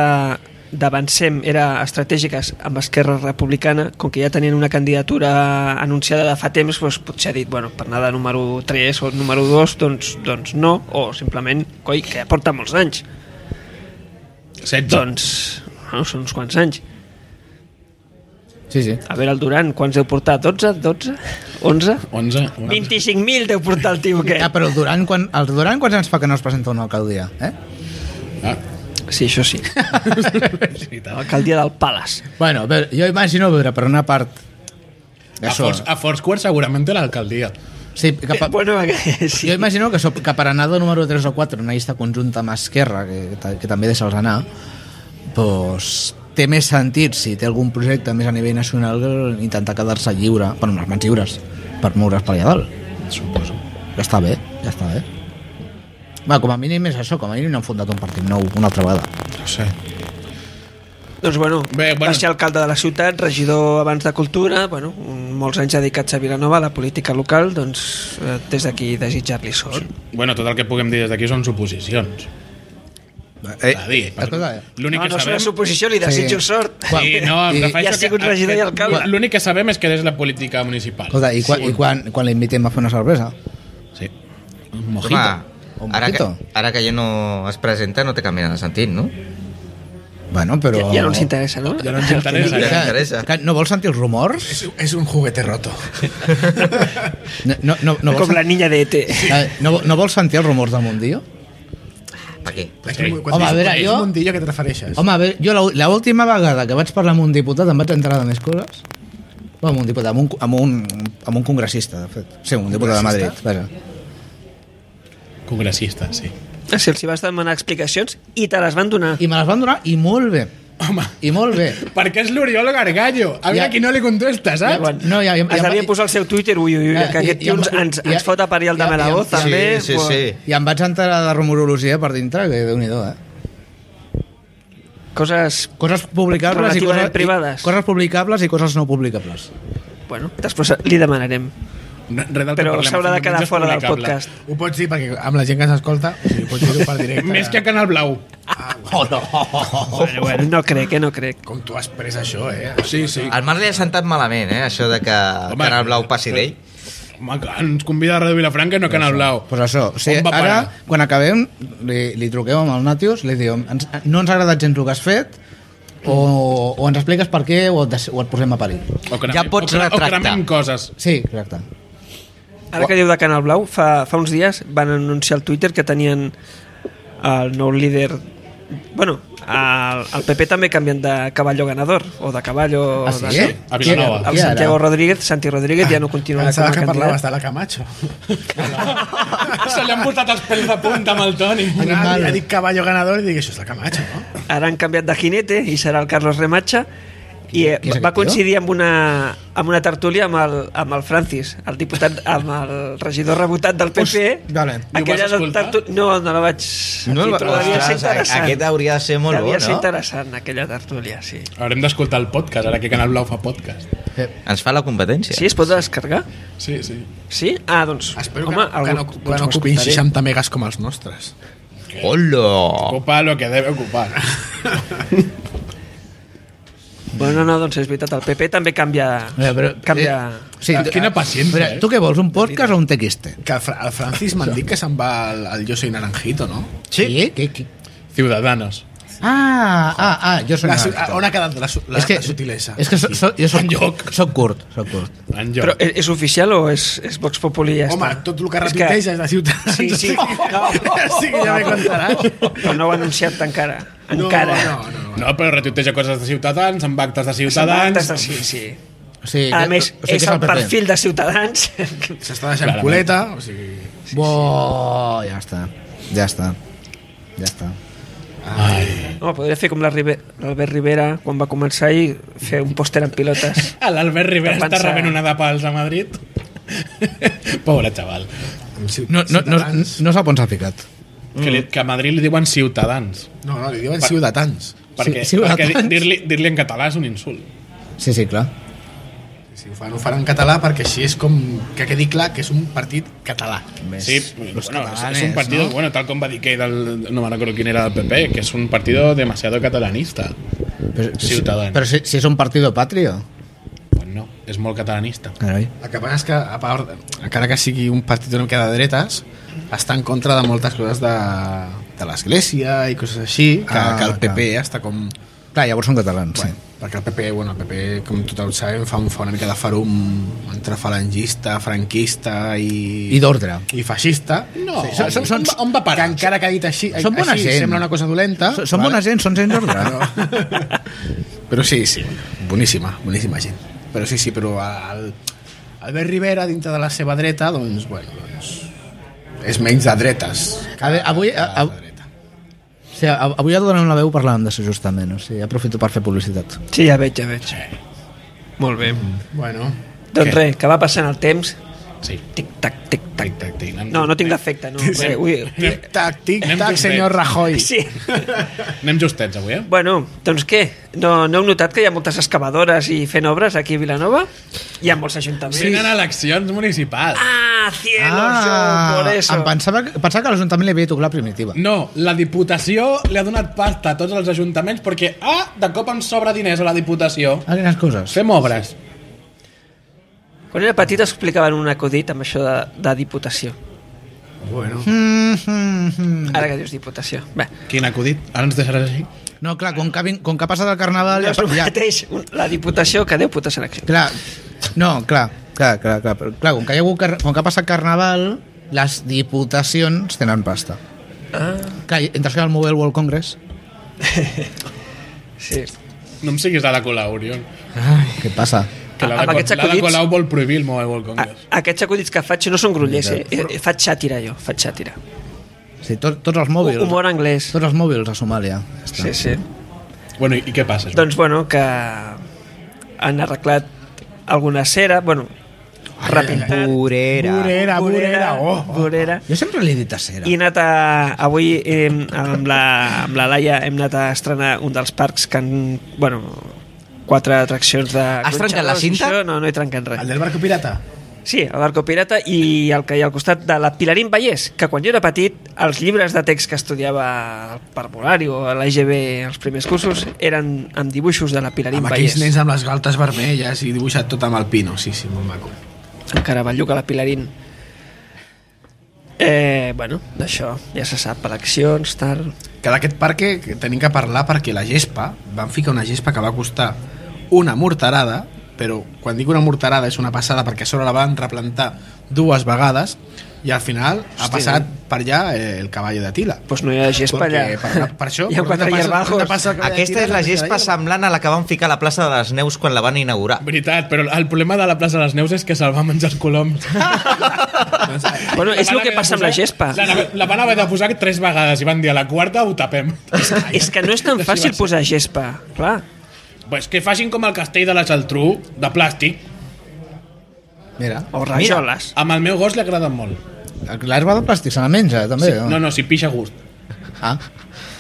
Speaker 2: d'Avancem era estratègica amb Esquerra Republicana, com que ja tenien una candidatura anunciada de fa temps, doncs potser ha dit, bueno, per anar de número 3 o número 2, doncs, doncs no, o simplement, coi, que ja porta molts anys.
Speaker 1: 16.
Speaker 2: Doncs, bueno, són uns quants anys.
Speaker 4: Sí, sí.
Speaker 2: A veure, el Duran, quants deu portar? 12? 12? 11?
Speaker 1: 11.
Speaker 2: 25.000 deu portar el tio
Speaker 4: Ah,
Speaker 2: aquest.
Speaker 4: però el Duran, quan, el Duran quants anys fa que no es presenta a una alcaldia? Eh?
Speaker 1: Ah.
Speaker 2: Sí, això sí. L'alcaldia del Palace.
Speaker 4: Bueno, a veure, jo imagino veure per una part
Speaker 1: A, Eh,
Speaker 4: això.
Speaker 1: Force, a Foursquare segurament té l'alcaldia.
Speaker 4: Sí, cap a...
Speaker 2: Bueno, eh,
Speaker 4: Sí.
Speaker 2: sí.
Speaker 4: Jo imagino que, sóc- que per anar del número 3 o 4 en una llista conjunta amb Esquerra, que, ta- que també deixa'ls anar, doncs té més sentit si té algun projecte més a nivell nacional que intentar quedar-se lliure, bueno, amb les mans lliures, per moure's per allà dalt, suposo. Ja està bé, ja està bé. Va, com a mínim és això, com a mínim no han fundat un partit nou una altra vegada.
Speaker 1: No sé.
Speaker 2: Doncs bueno,
Speaker 1: Bé,
Speaker 2: Bé,
Speaker 1: bueno.
Speaker 2: bueno, va ser alcalde de la ciutat, regidor abans de Cultura, bueno, un- molts anys dedicats a Vilanova, a la política local, doncs eh, des d'aquí desitjar-li sort.
Speaker 1: Bueno, tot el que puguem dir des d'aquí són suposicions.
Speaker 4: Eh,
Speaker 1: A dir, per-
Speaker 4: escolta, eh,
Speaker 1: l'únic
Speaker 2: No,
Speaker 1: que
Speaker 2: no és una
Speaker 1: sabem...
Speaker 2: suposició, li desitjo
Speaker 4: Sí.
Speaker 2: sí. sort.
Speaker 4: quan-
Speaker 1: Sí, no, em
Speaker 4: i-
Speaker 1: refereixo
Speaker 2: Ja ha sigut
Speaker 1: que-
Speaker 2: regidor i alcalde.
Speaker 1: que- L'únic que sabem és que és la política municipal.
Speaker 4: escolta, i, quan, i quan, quan l'invitem a fer una cervesa?
Speaker 1: Sí. Un mojito.
Speaker 3: Home,
Speaker 4: Un
Speaker 3: ara que,
Speaker 4: mojito.
Speaker 3: ara que ja no es presenta no té cap mena de sentit, no?
Speaker 4: Bueno, però...
Speaker 2: Ja, ja no ens interessa, no?
Speaker 1: Ja no ens interessa.
Speaker 3: Ja
Speaker 1: eh?
Speaker 3: no interessa.
Speaker 4: Que, no vols sentir els rumors?
Speaker 5: És, és un juguete roto.
Speaker 4: No, no, no, no vols
Speaker 2: Com la niña de E ET.
Speaker 4: Eh, no, no vols sentir els rumors del Mundillo?
Speaker 3: Per què?
Speaker 1: Sí.
Speaker 4: Home, a veure, jo-
Speaker 5: És Montillo, que te refereixes?
Speaker 4: Home, a veure, jo la- la última vegada que vaig parlar amb un diputat em vaig entrar de més coses. Bueno, amb un diputat, amb un, amb un, amb un congressista, de fet. Sí, un diputat de Madrid, vaja.
Speaker 1: Congressista, sí.
Speaker 2: Sí, els hi vas demanar explicacions i te les van donar.
Speaker 4: I me les van donar i molt bé.
Speaker 1: Home,
Speaker 4: I molt bé.
Speaker 1: perquè és l'Oriol Gargallo. A veure
Speaker 4: Ja.
Speaker 1: qui no li contesta,
Speaker 4: Ja,
Speaker 1: saps?
Speaker 4: bueno. No, ja- ja-
Speaker 2: es
Speaker 4: ja-
Speaker 2: devien posar al seu Twitter, ui, ui, ui,
Speaker 4: Ja,
Speaker 2: que aquest
Speaker 4: ja-
Speaker 2: tio ens,
Speaker 4: ja-
Speaker 2: ens,
Speaker 4: ja-
Speaker 2: ens fot a parir el
Speaker 4: ja-
Speaker 2: de la voz,
Speaker 4: ja-
Speaker 2: també.
Speaker 3: sí, sí,
Speaker 2: pues,
Speaker 3: sí.
Speaker 4: I em vaig entrar de rumorologia per dintre, que déu nhi eh?
Speaker 2: Coses...
Speaker 4: Coses publicables i
Speaker 2: Relativament
Speaker 4: coses,
Speaker 2: privades.
Speaker 4: I, coses publicables i coses no publicables.
Speaker 2: Bueno, després li demanarem.
Speaker 1: No, res del que
Speaker 2: Però
Speaker 1: parlem,
Speaker 2: s'haurà de
Speaker 1: al final
Speaker 2: quedar
Speaker 1: és
Speaker 2: fora del
Speaker 1: publicable.
Speaker 2: podcast.
Speaker 5: Ho pots dir perquè amb la gent que ens escolta, o sigui, pots dir-ho per directe.
Speaker 1: Més que a Canal Blau.
Speaker 2: Bueno, bueno, no crec, eh, no crec.
Speaker 5: Com tu has pres això, eh?
Speaker 1: Sí, sí.
Speaker 3: Al Marc li ha sentat malament, eh, això de que el
Speaker 1: Home,
Speaker 3: Canal Blau passi
Speaker 1: però-
Speaker 3: d'ell.
Speaker 1: Home, que ens convida a Ràdio Vilafranca i no a Canal Blau.
Speaker 4: Pues això, o sigui,
Speaker 1: On va
Speaker 4: ara,
Speaker 1: parar?
Speaker 4: quan acabem, li, li truquem amb el Natius, li diem, ens, no ens ha agradat gens el que has fet, o, o ens expliques per què o et, des- o et posem a parir.
Speaker 1: O cremem,
Speaker 3: Ja pots
Speaker 1: o cremem-
Speaker 3: retractar.
Speaker 1: O cremem coses.
Speaker 4: Sí, exacte.
Speaker 2: Ara que diu de Canal Blau, fa, fa uns dies van anunciar al Twitter que tenien el nou líder... Bueno, el, el PP també canvien de caballo ganador, o de caballo...
Speaker 4: Ah, sí?
Speaker 2: de,
Speaker 4: Eh?
Speaker 1: A Vilanova.
Speaker 2: El Santiago Rodríguez, Santi Rodríguez ja no continuarà com
Speaker 5: Pensava
Speaker 2: a
Speaker 5: que
Speaker 2: candidat.
Speaker 5: parlaves de la Camacho.
Speaker 1: Se li han posat els pèls de punta amb el Toni.
Speaker 5: Ah, ha dit caballo ganador i dic, això és la Camacho, no?
Speaker 2: Ara han canviat de jinete i serà el Carlos Remacha i eh,
Speaker 4: qui és
Speaker 2: va
Speaker 4: aquest tio?
Speaker 2: coincidir amb una, amb una tertúlia amb el, amb el Francis, el diputat, amb el regidor rebotat del PP.
Speaker 4: Hosti, vale.
Speaker 1: I ho vas
Speaker 2: Aquella
Speaker 1: escoltar?
Speaker 2: tertú- No, no la vaig... sentir,
Speaker 3: el-
Speaker 2: però devia ser
Speaker 3: Ostres,
Speaker 2: interessant.
Speaker 3: Aquest hauria de ser molt
Speaker 2: Devia
Speaker 3: bo,
Speaker 2: ser
Speaker 3: no?
Speaker 2: interessant, aquella tertúlia, sí.
Speaker 1: Haurem d'escoltar el podcast, ara que Canal Blau fa podcast.
Speaker 3: Ens fa la competència.
Speaker 2: Sí, es pot descarregar?
Speaker 1: Sí, sí.
Speaker 2: Sí? Ah, doncs...
Speaker 5: Espero
Speaker 2: home,
Speaker 5: que, que, no,
Speaker 2: algú-
Speaker 5: que
Speaker 2: doncs
Speaker 5: no
Speaker 2: ho
Speaker 5: ocupin
Speaker 2: escoltaré.
Speaker 5: 60 megas com els nostres.
Speaker 3: Hola!
Speaker 1: Ocupa lo que debe ocupar.
Speaker 2: Bueno, no, doncs és veritat, el PP també canvia... canvia...
Speaker 4: sí,
Speaker 1: Ah, quina paciència, eh?
Speaker 4: tu què vols, un podcast o un tequiste?
Speaker 5: Que el, Fra- el Francis m'han dit que se'n va al, al Yo soy Naranjito, no?
Speaker 4: Sí. Què, què?
Speaker 1: Ciudadanos.
Speaker 4: Ah, ah, ah, jo soc
Speaker 5: La, su-
Speaker 4: Naranjito.
Speaker 5: on ha quedat la, su- la,
Speaker 4: és que,
Speaker 5: la sutilesa?
Speaker 4: És que so, so, jo soc,
Speaker 1: Enlloc.
Speaker 4: soc curt, soc curt.
Speaker 1: En
Speaker 2: Però eh,
Speaker 1: Però,
Speaker 2: és, és oficial o és, és Vox Populi? i Ja
Speaker 5: Home,
Speaker 2: està?
Speaker 5: tot el que
Speaker 2: És
Speaker 5: repeteix és de Ciutadans.
Speaker 2: Sí, sí.
Speaker 5: No. sí que ja m'he contaràs.
Speaker 2: Però no ho ha anunciat encara. Encara.
Speaker 5: No, no, no.
Speaker 1: no, però retuiteja coses de Ciutadans, amb actes de Ciutadans...
Speaker 2: Ciutadans. Sí, sí.
Speaker 4: O sigui,
Speaker 2: A
Speaker 4: que-
Speaker 2: més,
Speaker 4: o sigui,
Speaker 2: és
Speaker 4: que
Speaker 2: el
Speaker 4: PP.
Speaker 2: perfil de Ciutadans.
Speaker 5: S'està deixant
Speaker 1: Clarament.
Speaker 5: culeta, o sigui...
Speaker 4: Bo, ja està, ja està, ja està.
Speaker 1: Ai.
Speaker 2: Home, podria fer com la Ribe- l'Albert Rivera quan va començar i fer un pòster en pilotes.
Speaker 1: Ah, L'Albert Rivera
Speaker 2: Defensa-
Speaker 1: està rebent una de pals a Madrid. Pobre xaval.
Speaker 5: amb Ciut-
Speaker 4: No, no, no, no,
Speaker 5: Ciutadans.
Speaker 4: no sap on s'ha ficat.
Speaker 1: Que, li, que a Madrid li diuen ciutadans.
Speaker 5: No, no, li diuen ciutadans.
Speaker 1: Perquè,
Speaker 4: Sí, ciutadans.
Speaker 1: perquè di- dir-li dir en català és un insult.
Speaker 4: Sí, sí, clar.
Speaker 5: Si ho fan, ho fan en català perquè així és com que quedi clar que és un partit català.
Speaker 4: Més
Speaker 1: Sí,
Speaker 4: los
Speaker 1: bueno, es- es un
Speaker 4: catalanes,
Speaker 1: partido,
Speaker 4: eh, no?
Speaker 1: bueno, tal como Badikey, del, no me acuerdo quién era del PP, que es un partido demasiado catalanista.
Speaker 4: Però,
Speaker 1: Ciutadans.
Speaker 4: Però si, si és un partido patrio.
Speaker 1: Pues no, es muy catalanista.
Speaker 4: Carai.
Speaker 5: El que passa és que, a part, encara que sigui un partit una mica de dretes, està en contra de moltes coses de, de l'església i coses així, que,
Speaker 4: Ah,
Speaker 5: que el PP
Speaker 4: clar.
Speaker 5: està com...
Speaker 4: Clar, llavors són catalans,
Speaker 5: Bueno,
Speaker 4: sí.
Speaker 5: perquè el PP, bueno, el PP, com tothom sabem, fa, un, fa una mica de farum entre falangista, franquista i...
Speaker 4: I d'ordre.
Speaker 5: i feixista.
Speaker 1: No,
Speaker 5: són, són, són,
Speaker 1: on va parar?
Speaker 5: Que encara que ha dit així,
Speaker 4: Són bona
Speaker 5: així
Speaker 4: gent.
Speaker 5: sembla una cosa dolenta.
Speaker 4: Ah, Són són bona gent, són gent d'ordre.
Speaker 5: Però sí, sí, boníssima, boníssima gent. Però sí, sí, però el, Albert Rivera, dintre de la seva dreta, doncs, bueno, doncs, és menys de dretes.
Speaker 4: A veure, avui-
Speaker 5: que de
Speaker 4: a- a-
Speaker 5: dreta.
Speaker 4: O sigui, av- avui a Donem la veu parlàvem d'això justament, o sigui, aprofito per fer publicitat.
Speaker 2: Sí, ja veig, ja veig. Molt bé.
Speaker 5: Bueno,
Speaker 2: Doncs res, que va passant el temps.
Speaker 1: Sí.
Speaker 2: Tic-tac, tic-tac.
Speaker 1: Tic-tac, tic.
Speaker 2: No, no tinc defecte, no. Res, ui,
Speaker 5: tic-tac, tic-tac,
Speaker 1: Anem
Speaker 5: senyor
Speaker 1: justets.
Speaker 5: Rajoy.
Speaker 2: Sí.
Speaker 1: Anem justets avui, eh?
Speaker 2: Bueno, doncs què? No, no heu notat que hi ha moltes excavadores i fent obres aquí a Vilanova? Hi ha molts ajuntaments.
Speaker 1: Sí. Venen eleccions municipals.
Speaker 2: Ah, cielos, yo por eso.
Speaker 4: Ah, em pensava, que- pensava que a l'Ajuntament li havia tocat la primitiva.
Speaker 1: No, la Diputació li ha donat pasta a tots els ajuntaments perquè, ah, de cop ens sobra diners a la Diputació.
Speaker 4: Ah, quines coses.
Speaker 1: Fem obres.
Speaker 2: Quan era petit explicaven un acudit amb això de, de diputació.
Speaker 5: Bueno,
Speaker 4: Mm, mm, mm.
Speaker 2: Ara que dius diputació. Bé,
Speaker 1: Quin acudit? Ara ens deixaràs així?
Speaker 4: No, clar, com que, ha vin- com que ha passat el carnaval...
Speaker 2: no
Speaker 4: Ja,
Speaker 2: és el
Speaker 4: ja,
Speaker 2: mateix un- la diputació que 10 putes eleccions.
Speaker 4: clar, no, clar, clar, clar, clar, però, clar com, que hi ha hagut, car- com que ha passat carnaval, les diputacions tenen pasta.
Speaker 2: Ah,
Speaker 4: Clar, i entre això i el Mobile World Congress,
Speaker 2: sí.
Speaker 1: No em siguis a la Colau, Oriol.
Speaker 4: què passa?
Speaker 1: Que la,
Speaker 2: Amb
Speaker 1: de,
Speaker 2: aquests
Speaker 1: Co- la de
Speaker 2: acudits-
Speaker 1: Colau vol prohibir el Mobile World
Speaker 2: A,
Speaker 1: Congress.
Speaker 2: aquests acudits que faig no són grullers, eh? Eh, eh, Faig xàtira, jo. Faig xàtira.
Speaker 4: O sigui, tot, tots els mòbils...
Speaker 2: Humor anglès.
Speaker 4: Tots els mòbils a Somàlia. Ja està.
Speaker 2: Sí, sí.
Speaker 1: Bueno, i, i què passa? Joan?
Speaker 2: Doncs bueno, que han arreglat alguna cera, bueno, repentat.
Speaker 3: Burera.
Speaker 5: Burera, burera, oh, oh.
Speaker 2: Vorera.
Speaker 4: Jo sempre l'he dit tercera.
Speaker 2: I he anat a, avui eh, amb, la, amb la Laia hem anat a estrenar un dels parcs que han... Bueno, quatre atraccions de...
Speaker 3: Has trencat la cinta?
Speaker 2: Això, No, no he trencat res.
Speaker 5: El del barco pirata.
Speaker 2: Sí, el barco pirata i el que hi ha al costat de la Pilarín Vallès, que quan jo era petit, els llibres de text que estudiava al parvulari o a l'EGB els primers cursos eren amb dibuixos de la Pilarín
Speaker 5: Amb
Speaker 2: Vallès.
Speaker 5: aquells nens amb les galtes vermelles i dibuixat tot amb el pino. Sí, sí, molt maco.
Speaker 2: El Caraballuc a la Pilarín. Eh, bueno, d'això ja se sap, eleccions, tal...
Speaker 5: que d'aquest parc que tenim que parlar perquè la gespa, van ficar una gespa que va costar una morterada, però quan dic una morterada és una passada perquè a sobre la van replantar dues vegades i al final ha passat per allà eh, el cavall de Tila.
Speaker 2: Pues no hi ha gespa allà.
Speaker 5: Perquè Per, per això,
Speaker 2: Hi ha
Speaker 5: per on
Speaker 2: quatre
Speaker 5: te passa-
Speaker 2: hierbajos.
Speaker 5: on te passa el cavall de
Speaker 3: Aquesta
Speaker 5: Tila,
Speaker 3: és la
Speaker 5: no sé,
Speaker 3: gespa
Speaker 5: allà.
Speaker 3: semblant a la que van ficar a la plaça de les Neus quan la van inaugurar.
Speaker 1: Veritat, però el problema de la plaça de les Neus és que se'l va menjar els coloms.
Speaker 2: Bueno, és
Speaker 1: La
Speaker 2: el
Speaker 1: van
Speaker 2: que
Speaker 1: haver de
Speaker 2: passa amb la
Speaker 1: posar-
Speaker 2: gespa.
Speaker 1: eh? La, la van haver de posar tres vegades i van dir a la quarta ho tapem.
Speaker 2: És que no és tan fàcil posar gespa, clar.
Speaker 1: pues que facin com el castell de la Geltrú, de plàstic.
Speaker 4: Mira.
Speaker 2: O rajoles.
Speaker 1: Amb el meu gos li agrada molt.
Speaker 4: L'arba de plàstic se la menja, eh, també?
Speaker 1: Sí, no, no, si pixa gust.
Speaker 4: Ah.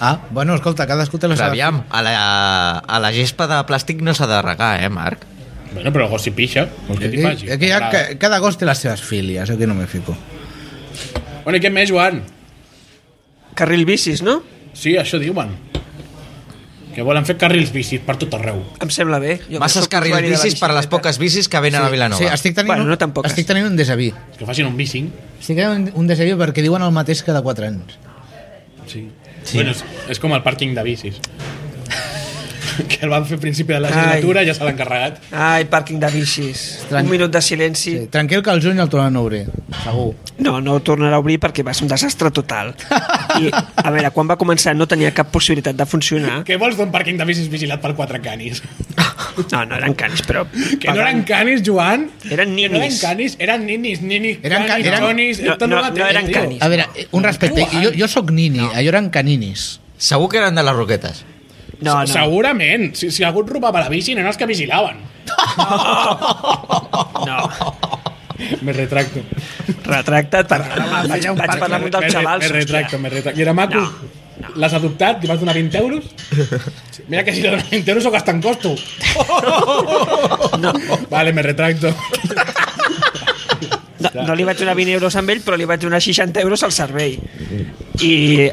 Speaker 4: ah, bueno, escolta, cadascú té la
Speaker 3: Però
Speaker 4: seva...
Speaker 3: aviam, a la, a la gespa de plàstic no s'ha de regar, eh, Marc?
Speaker 1: Bueno, però el gos si pixa, vols que t'hi
Speaker 4: Aquí,
Speaker 1: faci?
Speaker 4: aquí hi ha,
Speaker 1: M'agrada.
Speaker 4: ca- cada gos té les seves fílies, aquí no m'hi fico.
Speaker 1: Bueno, i què més, Joan?
Speaker 2: Carril bicis, no?
Speaker 1: Sí, això diuen. Que volen fer carrils bicis per tot arreu.
Speaker 2: Em sembla bé. Jo que
Speaker 3: Masses
Speaker 2: sóc
Speaker 3: carrils
Speaker 2: usuari de la
Speaker 3: bicis per a les
Speaker 2: bicicleta.
Speaker 3: poques bicis que venen a Vilanova.
Speaker 4: Sí, estic tenint,
Speaker 2: Bueno,
Speaker 4: un-
Speaker 2: no tan poques.
Speaker 4: estic tenint un déjà vu.
Speaker 1: Que facin un bicing.
Speaker 4: Estic tenint un, un déjà vu perquè diuen el mateix cada 4 anys.
Speaker 1: Sí. sí. Bueno, és, és com el pàrquing de bicis. que el van fer a principi de la legislatura, ja se l'han carregat.
Speaker 2: Ai, pàrquing de bicis.
Speaker 4: Estrany.
Speaker 2: Un minut de silenci.
Speaker 4: Sí. Tranquil que al juny el tornen a obrir, segur.
Speaker 2: No, no ho tornarà a obrir perquè va ser un desastre total. I, a veure, quan va començar no tenia cap possibilitat de funcionar.
Speaker 1: Què vols d'un pàrquing de bicis vigilat per quatre canis?
Speaker 2: No, no eren canis, però...
Speaker 1: Que no eren canis, Joan?
Speaker 2: Eren
Speaker 1: Que no eren
Speaker 2: ninis.
Speaker 1: canis, eren ninis, ninis,
Speaker 4: Eren
Speaker 1: eren
Speaker 4: ca-
Speaker 1: canis,
Speaker 4: eren-
Speaker 1: jonis...
Speaker 2: No,
Speaker 1: tot el
Speaker 2: no, no
Speaker 1: mateix,
Speaker 2: eren
Speaker 1: tio.
Speaker 2: canis.
Speaker 4: A veure, eh, un respecte, jo, jo sóc nini, no. allò eren caninis.
Speaker 3: Segur que eren de les roquetes.
Speaker 2: Ah, No, no.
Speaker 1: Segurament. Si, si algú et robava la bici, no eren els que vigilaven.
Speaker 2: No.
Speaker 1: Me retracto.
Speaker 2: Retracta't per... Vaig,
Speaker 5: un
Speaker 2: vaig
Speaker 5: parc-
Speaker 2: parlar amb un dels xavals.
Speaker 1: Me, me retracto, me retracto. I era maco?
Speaker 2: No,
Speaker 1: L'has adoptat? Li vas donar 20 euros? Mira que si li dones 20 euros ho gasten costo.
Speaker 2: No.
Speaker 1: Vale, me retracto.
Speaker 2: No, no li vaig donar 20 euros amb ell, però li vaig donar 60 euros al servei. I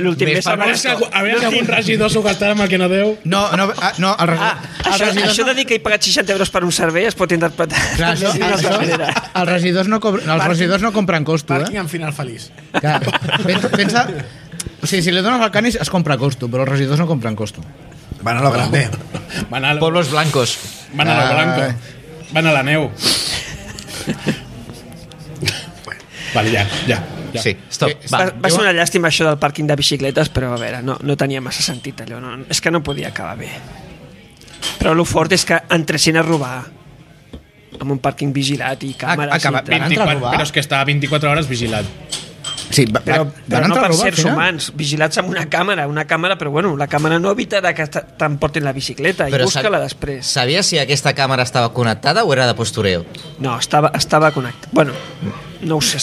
Speaker 2: l'últim
Speaker 3: Més
Speaker 2: mes...
Speaker 1: A veure si, algú- a veure si algun regidor s'ho gastarà amb el que no deu.
Speaker 4: No, no, ah, no el,
Speaker 2: Ah, això, això de dir que he pagat 60 euros per un servei es pot interpretar
Speaker 4: Clar, això,
Speaker 2: d'una altra
Speaker 4: això,
Speaker 2: manera.
Speaker 4: els regidors no, cobren, els regidors no compren costo, eh?
Speaker 5: Pàrquing amb final feliç.
Speaker 4: Clar, pensa, pensa, o sigui, si li dones al canis es compra costo, però els regidors no compren costo.
Speaker 5: Van a lo grande.
Speaker 1: Van a,
Speaker 3: Pueblos blancos.
Speaker 1: van a
Speaker 4: Ah,
Speaker 1: la
Speaker 4: eh.
Speaker 1: blanca. Van a la neu. Vale, ja, ja. ja.
Speaker 3: Sí, stop,
Speaker 2: Va,
Speaker 3: va.
Speaker 2: va ser una llàstima això del pàrquing de bicicletes, però a veure, no, no tenia massa sentit allò. No, és que no podia acabar bé. Però el fort és que entressin a robar amb un pàrquing vigilat i càmeres.
Speaker 4: Ah, acaba-
Speaker 2: i tal.
Speaker 4: Van entrar a
Speaker 1: 24,
Speaker 4: robar?
Speaker 1: però és que estava 24 hores vigilat.
Speaker 4: Sí, va,
Speaker 2: però,
Speaker 4: va-
Speaker 2: però
Speaker 4: van
Speaker 2: no
Speaker 4: entrar a
Speaker 2: per
Speaker 4: robar,
Speaker 2: ser
Speaker 4: al final?
Speaker 2: humans, vigilats amb una càmera, una càmera, però bueno, la càmera no evitarà que te- t'emportin la bicicleta i
Speaker 3: sa-
Speaker 2: busca-la després.
Speaker 3: Sabies si aquesta càmera estava connectada o era de postureo?
Speaker 2: No, estava, estava connectat. Bueno, no ho sé.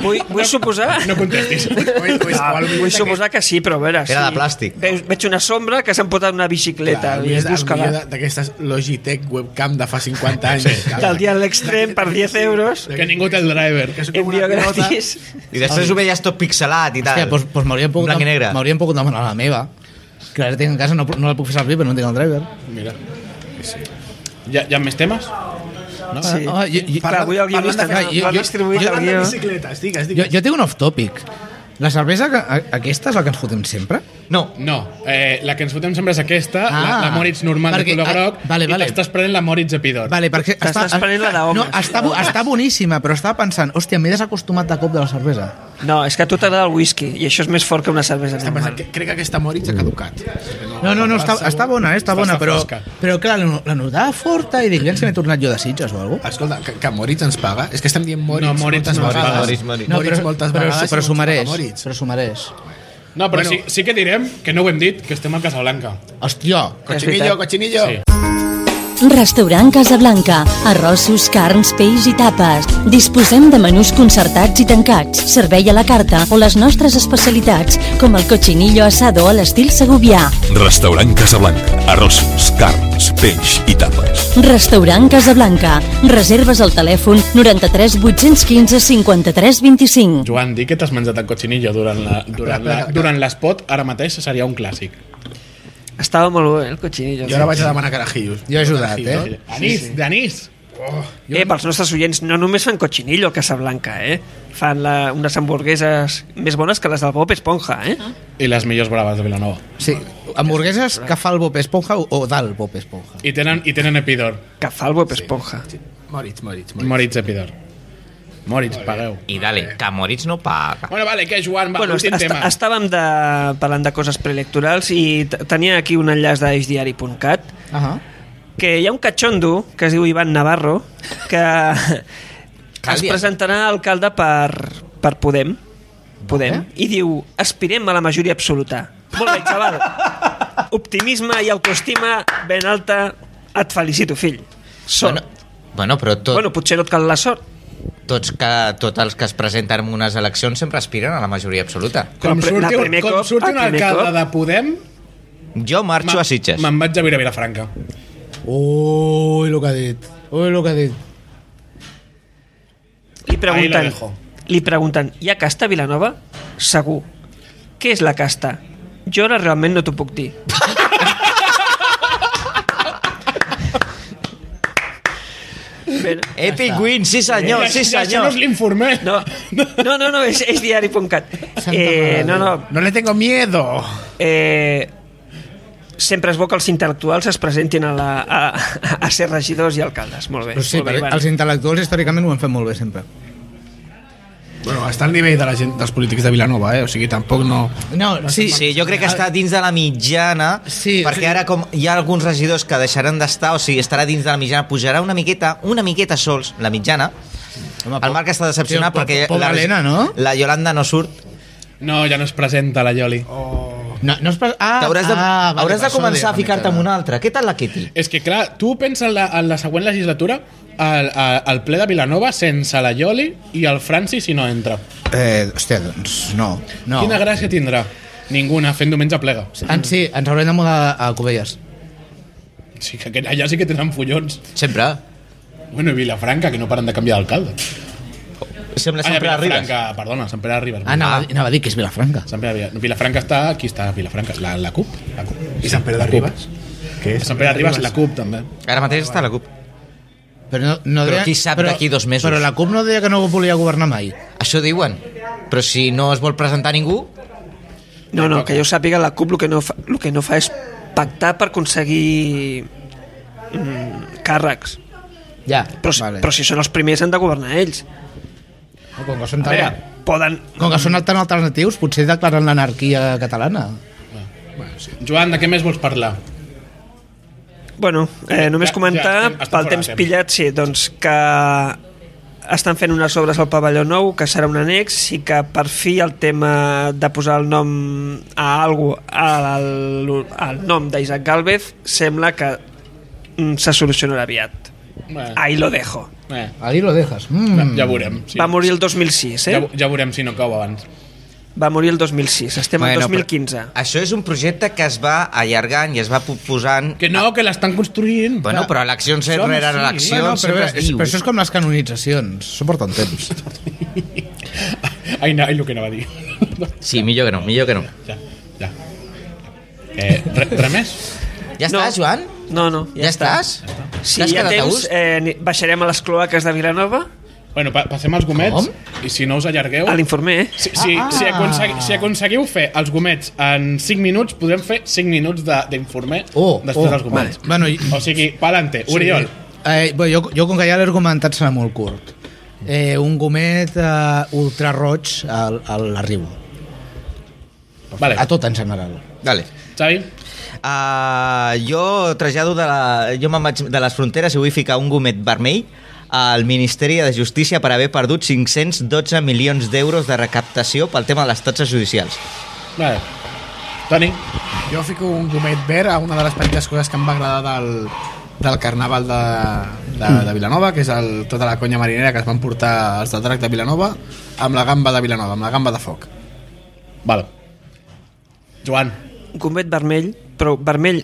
Speaker 2: vull, vull suposar...
Speaker 1: No contestis.
Speaker 5: Oi, oi,
Speaker 2: Ah,
Speaker 5: igual
Speaker 2: vull suposar que sí, però a veure...
Speaker 3: Era
Speaker 2: sí.
Speaker 3: de plàstic.
Speaker 2: Veus, veig una sombra que s'ha emportat una bicicleta.
Speaker 5: Clar,
Speaker 2: i
Speaker 5: el
Speaker 2: es busca la...
Speaker 5: millor de- d'aquestes Logitech webcam de fa 50 anys.
Speaker 2: Del dia a l'extrem per 10 euros,
Speaker 1: Que ningú té el driver.
Speaker 5: sóc com
Speaker 2: envio
Speaker 5: una pilota.
Speaker 2: gratis.
Speaker 3: I després ho veies tot pixelat i tal.
Speaker 4: Hòstia, doncs, doncs m'haurien pogut,
Speaker 3: Blanc i negre.
Speaker 4: m'haurien pogut demanar la meva. Que ara tinc en casa, no, no la puc fer servir, però no tinc el driver.
Speaker 1: Mira. Ja, ja més temes?
Speaker 4: No?
Speaker 2: Sí.
Speaker 4: Ah, jo, jo,
Speaker 2: Clar, avui el guionista
Speaker 4: parlant de-
Speaker 2: no, no ha
Speaker 4: jo-
Speaker 2: distribuït el
Speaker 5: Parlant de
Speaker 2: guió.
Speaker 5: bicicletes, digues,
Speaker 4: jo,
Speaker 5: digues.
Speaker 4: jo tinc un off-topic. La cervesa, que, a- aquesta és la que ens fotem sempre?
Speaker 3: No,
Speaker 1: No, eh, la que ens fotem sempre és aquesta, ah, la,
Speaker 4: Ah.
Speaker 1: la Moritz normal
Speaker 4: Perquè-
Speaker 1: de color
Speaker 4: ah,
Speaker 1: groc,
Speaker 4: vale, vale.
Speaker 1: i t'estàs prenent la Moritz Epidor.
Speaker 4: Vale, perquè
Speaker 2: T'estàs prenent la d'homes.
Speaker 4: no, està, bo- està boníssima, però estava pensant, hòstia, m'he desacostumat de cop de la cervesa.
Speaker 2: No, és que a tu t'agrada el whisky i això és més fort que una cervesa
Speaker 5: Està pensant
Speaker 2: normal.
Speaker 5: que- Crec que aquesta Moritz ha caducat.
Speaker 4: No, no, no, està, està bona, eh, està bona, però,
Speaker 1: fresca.
Speaker 4: però clar, la, la notava forta i dic, aviam si m'he tornat jo de Sitges o alguna
Speaker 5: Ah, Escolta, que, que Moritz ens paga? És que estem dient Moritz,
Speaker 1: No, Moritz
Speaker 5: moltes
Speaker 1: no ens
Speaker 5: vegades.
Speaker 1: paga.
Speaker 3: Moritz, Moritz.
Speaker 5: Moritz moltes
Speaker 4: però,
Speaker 5: vegades.
Speaker 4: però
Speaker 5: i no ens paga
Speaker 4: sumarés,
Speaker 5: Moritz.
Speaker 4: però sumarés.
Speaker 1: No, però
Speaker 5: Bueno.
Speaker 1: sí, sí que direm que no ho hem dit, que estem al Casablanca.
Speaker 4: Hòstia,
Speaker 2: És
Speaker 5: Cochinillo,
Speaker 2: veritat.
Speaker 5: cochinillo.
Speaker 1: Sí.
Speaker 6: Restaurant Casablanca. Arrossos, carns, peix i tapes. Disposem de menús concertats i tancats, servei a la carta o les nostres especialitats, com el cochinillo asado a l'estil segovià.
Speaker 7: Restaurant Casablanca. Arrossos, carns, peix i tapes.
Speaker 6: Restaurant Casablanca. Reserves al telèfon 93 815 53 25.
Speaker 1: Joan, dir que t'has menjat el cochinillo durant la- durant la- durant l'espot, ara mateix seria un clàssic.
Speaker 2: Estava molt bé, el cochinillo.
Speaker 5: Jo ara vaig a demanar carajillos. Jo he ajudat, eh?
Speaker 1: Anís, d'anís.
Speaker 2: Eh, pels nostres oients, no només fan cochinillo a Casablanca, eh? Fan la, unes hamburgueses més bones que les del Bob Esponja, eh?
Speaker 1: I les millors braves de Vilanova.
Speaker 4: Sí, hamburgueses que fa el Bob Esponja o, o del Bob Esponja.
Speaker 1: I tenen, i tenen Epidor.
Speaker 2: Que fa el Bob Esponja.
Speaker 5: Moritz, Moritz, Moritz.
Speaker 1: Moritz Epidor. Moritz, pagueu.
Speaker 3: I dale, que Moritz no paga.
Speaker 1: Bueno, vale, que Joan, va,
Speaker 2: Bueno,
Speaker 1: bueno, últim
Speaker 2: est
Speaker 1: tema.
Speaker 2: estàvem de, parlant de coses preelectorals i t- tenia aquí un enllaç d'eixdiari.cat
Speaker 4: Uh -huh.
Speaker 2: que hi ha un catxondo que es diu Ivan Navarro que es presentarà a alcalde per, per Podem Podem i diu aspirem a la majoria absoluta molt bé xaval optimisme i autoestima ben alta et felicito fill sort
Speaker 3: Bueno,
Speaker 2: bueno,
Speaker 3: bueno, però tot, bueno,
Speaker 2: potser no et cal la sort
Speaker 3: tots, que, tots els que es presenten en unes eleccions sempre aspiren a la majoria absoluta.
Speaker 1: Com
Speaker 2: Però la
Speaker 1: surti, un-
Speaker 2: primer
Speaker 1: com
Speaker 2: cop-
Speaker 1: surti un
Speaker 2: el primer
Speaker 1: alcalde
Speaker 2: cop-
Speaker 1: de Podem,
Speaker 3: Jo marxo a Sitges.
Speaker 1: me'n vaig a viure a Vilafranca.
Speaker 4: Ui, el que ha dit. Ui, el que ha dit.
Speaker 1: Ahí
Speaker 2: li
Speaker 1: lo
Speaker 2: pregunten,
Speaker 1: dejo.
Speaker 2: li pregunten hi ha casta a Vilanova? segur què és la casta? jo ara realment no t'ho puc dir Bé, no.
Speaker 3: Epic win, sí senyor,
Speaker 1: Eh,
Speaker 3: sí
Speaker 1: això- Això no
Speaker 3: senyor.
Speaker 1: és l'informer.
Speaker 2: No, no, no, no és, és diari.cat. Eh, no, no.
Speaker 5: No le tengo miedo.
Speaker 2: Eh, sempre es bo que els intel·lectuals es presentin a, la, a, a ser regidors i alcaldes. Molt bé.
Speaker 4: Però sí,
Speaker 2: molt bé
Speaker 4: perquè
Speaker 2: Ivan.
Speaker 4: els intel·lectuals històricament ho han fet molt bé sempre.
Speaker 5: Bueno, està al nivell de la gent, dels polítics de Vilanova, eh? O sigui, tampoc no...
Speaker 4: No,
Speaker 3: Sí, sí, jo crec que està dins de la mitjana,
Speaker 4: Sí,
Speaker 3: perquè
Speaker 4: sí.
Speaker 3: ara com hi ha alguns regidors que deixaran d'estar, o sigui, estarà dins de la mitjana, pujarà una miqueta, una miqueta sols, la mitjana.
Speaker 4: Home,
Speaker 3: El Marc està decepcionat
Speaker 4: Sí, po-
Speaker 3: perquè
Speaker 4: po- pobra Helena, no?
Speaker 3: la Yolanda no surt.
Speaker 1: No, ja no es presenta la Yoli.
Speaker 4: No, no es pas... ah,
Speaker 3: T'hauràs de,
Speaker 4: ah, vale,
Speaker 3: hauràs
Speaker 4: per
Speaker 3: de
Speaker 4: això
Speaker 3: començar
Speaker 4: deia
Speaker 3: a ficar-te
Speaker 4: mica
Speaker 3: en
Speaker 4: de-
Speaker 3: una altra. Què tal la Kitty?
Speaker 1: És que, clar, tu pensa en la, en la següent legislatura, al, a- al ple de Vilanova, sense la Yoli i el Franci si no entra.
Speaker 4: Eh, hòstia, doncs no. no.
Speaker 1: Quina gràcia tindrà? Ninguna, fent diumenge plega.
Speaker 4: En, sí, ens haurem de mudar a Covelles.
Speaker 1: Sí, que aquella- allà sí que tenen follons.
Speaker 3: Sempre.
Speaker 1: Bueno, i Vilafranca, que no paren de canviar d'alcalde.
Speaker 3: Sembla
Speaker 1: Ah,
Speaker 3: sempre
Speaker 1: ja,
Speaker 3: arribes.
Speaker 1: Vilafranca, perdona, Sant Pere Ribes.
Speaker 4: Ah, anava, anava a dir que és Vilafranca.
Speaker 1: Sant Pere Ribes. Vilafranca està... Aquí està Vilafranca, la, la CUP. La CUP.
Speaker 5: I Sant Pere de Ribes? Què és?
Speaker 1: Sant Pere Ribes, la CUP, també.
Speaker 3: Ara mateix està a la CUP.
Speaker 4: Però, no, no
Speaker 3: Però
Speaker 4: deia,
Speaker 3: qui sap d'aquí dos mesos?
Speaker 4: Però la CUP no deia que no volia governar mai.
Speaker 3: Això diuen. Però si no es vol presentar ningú,
Speaker 2: No, no, que jo sàpiga, la CUP el que no fa, el que no fa és pactar per aconseguir mm, càrrecs.
Speaker 4: Ja,
Speaker 2: Però, vale. però si són els primers han de governar ells.
Speaker 4: No, com, que són
Speaker 2: A veure,
Speaker 4: tan,
Speaker 2: poden...
Speaker 4: com que són tan alternatius, potser declaren l'anarquia catalana.
Speaker 1: Joan, de què més vols parlar?
Speaker 2: Bueno, eh, només
Speaker 1: Ja- ja
Speaker 2: comentar,
Speaker 1: estem- estem
Speaker 2: pel
Speaker 1: fora
Speaker 2: temps
Speaker 1: de temps.
Speaker 2: pillat, sí, doncs que estan fent unes obres al pavelló nou, que serà un annex, i que per fi el tema de posar el nom a algú, al, al, al nom d'Isaac Galvez, sembla que mm, se solucionarà aviat.
Speaker 1: Bueno,
Speaker 2: Ahí lo dejo.
Speaker 1: eh,
Speaker 4: Ahí lo dejas.
Speaker 1: ja,
Speaker 4: Mm.
Speaker 1: ja veurem.
Speaker 2: Sí. Va morir el 2006, eh?
Speaker 1: ja, ja veurem si no cau abans.
Speaker 2: Va morir el 2006. Estem bueno,
Speaker 3: Bueno,
Speaker 2: al 2015. Però...
Speaker 3: això és un projecte que es va allargant i es va posant...
Speaker 1: Que no, que l'estan construint. Ah.
Speaker 3: Bueno, però eleccions
Speaker 1: Som,
Speaker 3: rere
Speaker 1: sí.
Speaker 3: eleccions
Speaker 4: Bueno, però,
Speaker 3: sempre
Speaker 4: però,
Speaker 3: es diu.
Speaker 4: però això és com les canonitzacions, això porta un temps.
Speaker 1: Ai, no, ai, el que no va dir.
Speaker 3: Sí, millor que no, millor que no.
Speaker 1: Ja, ja. Eh, re, re més?
Speaker 3: Ja
Speaker 2: No.
Speaker 3: estàs, Joan?
Speaker 2: No, no, ja,
Speaker 3: Ja, estàs?
Speaker 2: Si hi ha
Speaker 3: quedat a
Speaker 2: temps,
Speaker 3: gust?
Speaker 2: eh, ni- baixarem a les cloaques de Vilanova,
Speaker 1: Bueno, pa passem als gomets.
Speaker 4: Com?
Speaker 1: I si no us allargueu...
Speaker 2: a l'informer, eh?
Speaker 1: Si, si, ah. si, aconsegui, si aconseguiu fer els gomets en 5 minuts, podrem fer 5 minuts de- d'informer
Speaker 4: Oh,
Speaker 1: després
Speaker 4: oh,
Speaker 1: dels gomets.
Speaker 4: vale. Bueno, i-
Speaker 1: O sigui, pa'lante, Oriol.
Speaker 4: Eh, bé, jo, jo com que ja l'he argumentat serà molt curt. Eh, un gomet eh, ultra roig al, a l'arribo.
Speaker 1: Vale.
Speaker 4: A tot en general.
Speaker 3: Dale.
Speaker 1: Xavi?
Speaker 3: Uh, jo trasllado de, la, jo me'n vaig de les fronteres i vull ficar un gomet vermell al Ministeri de Justícia per haver perdut 512 milions d'euros de recaptació pel tema de les taxes judicials.
Speaker 1: Vale. Toni?
Speaker 5: Jo fico un gomet verd a una de les petites coses que em va agradar del, del carnaval de, de, de Vilanova, que és el, tota la conya marinera que es van portar els del drac de Vilanova amb la gamba de Vilanova, amb la gamba de foc.
Speaker 1: Val. Joan,
Speaker 2: gomet vermell, però vermell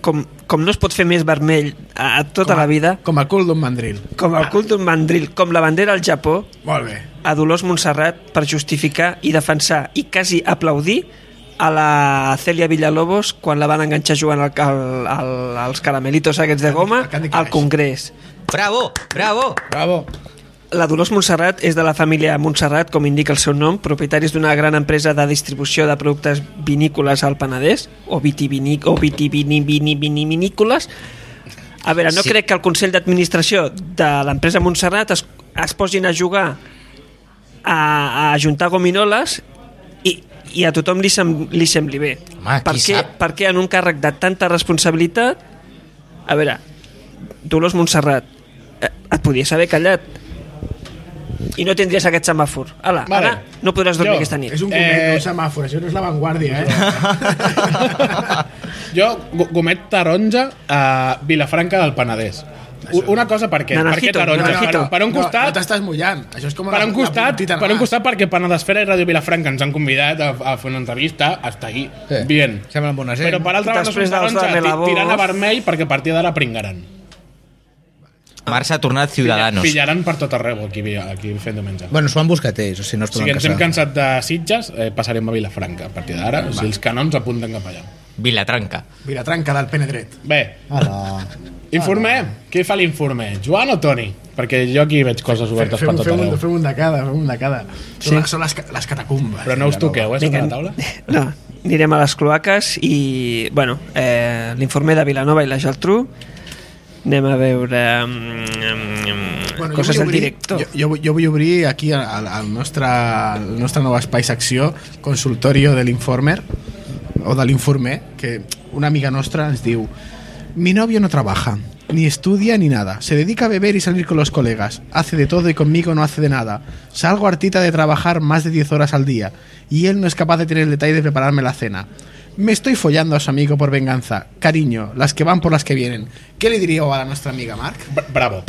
Speaker 2: com, com no es pot fer més vermell a, a tota
Speaker 5: Com a-
Speaker 2: la vida,
Speaker 5: Com el cul d'un mandril.
Speaker 2: com el cul d'un mandril, com la bandera al Japó,
Speaker 5: Molt bé.
Speaker 2: a Dolors Montserrat per justificar i defensar i quasi aplaudir a la Celia Villalobos quan la van enganxar jugant al, al, al, als caramelitos aquests de goma
Speaker 5: al Candy Crush.
Speaker 2: al Congrés.
Speaker 3: Bravo, bravo.
Speaker 5: Bravo.
Speaker 2: La Dolors Montserrat és de la família Montserrat, com indica el seu nom, propietaris d'una gran empresa de distribució de productes vinícoles al Penedès, o vitivinic, o vitivinivinícoles. A veure, no
Speaker 3: Sí.
Speaker 2: sí. crec que el Consell d'Administració de l'empresa Montserrat es, es posin a jugar a, a juntar gominoles i, i a tothom li, sem, li sembli bé.
Speaker 3: Home,
Speaker 2: per,
Speaker 3: qui
Speaker 2: què,
Speaker 3: sap?
Speaker 2: per què en un càrrec de tanta responsabilitat... A veure, Dolors Montserrat, eh, et podies haver callat i no tindries aquest semàfor. Ala,
Speaker 1: Vale.
Speaker 2: vale. ara no podràs
Speaker 1: Jo,
Speaker 2: dormir jo, aquesta nit.
Speaker 5: És un gomet,
Speaker 1: Eh.
Speaker 5: eh... un semàfor, això no és l'avantguàrdia, eh?
Speaker 1: jo, go- gomet taronja a Vilafranca del Penedès. U- Una cosa per què? Per què
Speaker 2: Naranjito,
Speaker 1: taronja?
Speaker 2: naranjito.
Speaker 1: Per, per un
Speaker 5: No, no
Speaker 1: costat...
Speaker 5: t'estàs mullant. Això és com
Speaker 1: per
Speaker 5: la-
Speaker 1: un
Speaker 5: la
Speaker 1: costat,
Speaker 5: puntita en
Speaker 1: per un
Speaker 5: l'as.
Speaker 1: costat perquè Panadesfera i Ràdio Vilafranca ens han convidat a, a fer una entrevista, hasta aquí,
Speaker 4: Sí.
Speaker 1: bien.
Speaker 4: Semblen bona gent.
Speaker 1: Però per altra banda és un
Speaker 2: Després dels
Speaker 1: taronja
Speaker 2: de Melabó.
Speaker 1: ti- tirant a vermell perquè a partir d'ara pringaran.
Speaker 3: Marc s'ha tornat Ciudadanos.
Speaker 1: Pillaran per tot arreu aquí, aquí fent diumenge.
Speaker 4: Bueno, s'ho han buscat ells, o sigui, no es
Speaker 1: O sigui,
Speaker 4: poden
Speaker 1: ens hem
Speaker 4: casar.
Speaker 1: cansat de Sitges, eh, passarem a Vilafranca. A partir d'ara, o sigui, els canons apunten cap allà.
Speaker 3: Vilatranca.
Speaker 5: Vilatranca del Penedret.
Speaker 1: Bé,
Speaker 4: Hola.
Speaker 1: informe. Què fa l'informe? Joan o Toni? Perquè jo aquí veig coses obertes per
Speaker 5: Fem,
Speaker 1: tot
Speaker 5: fem, un,
Speaker 1: arreu.
Speaker 5: fem un de cada, fem un de cada. Són, les, són les, ca- les catacumbes.
Speaker 1: Però no us toqueu, eh, sota la taula?
Speaker 2: No, anirem a les cloaques i, bueno, eh, l'informe de Vilanova i la Geltrú. Anem a veure mm, bueno,
Speaker 5: jo
Speaker 2: coses del
Speaker 5: vull obrir-
Speaker 2: director.
Speaker 5: Jo, jo, vull- jo vull obrir aquí al, al, nostre, al nostre nou espai secció, consultorio de l'informer, o de l'informer, que una amiga nostra ens diu Mi novio no trabaja, ni estudia ni nada. Se dedica a beber y salir con los colegas. Hace de todo y conmigo no hace de nada. Salgo hartita de trabajar más de 10 horas al día. Y él no es capaz de tener el detalle de prepararme la cena. Me estoy follando a su amigo por venganza. Cariño, las que van por las que vienen. ¿Qué le diría a nuestra amiga Mark?
Speaker 1: Bra- Bravo,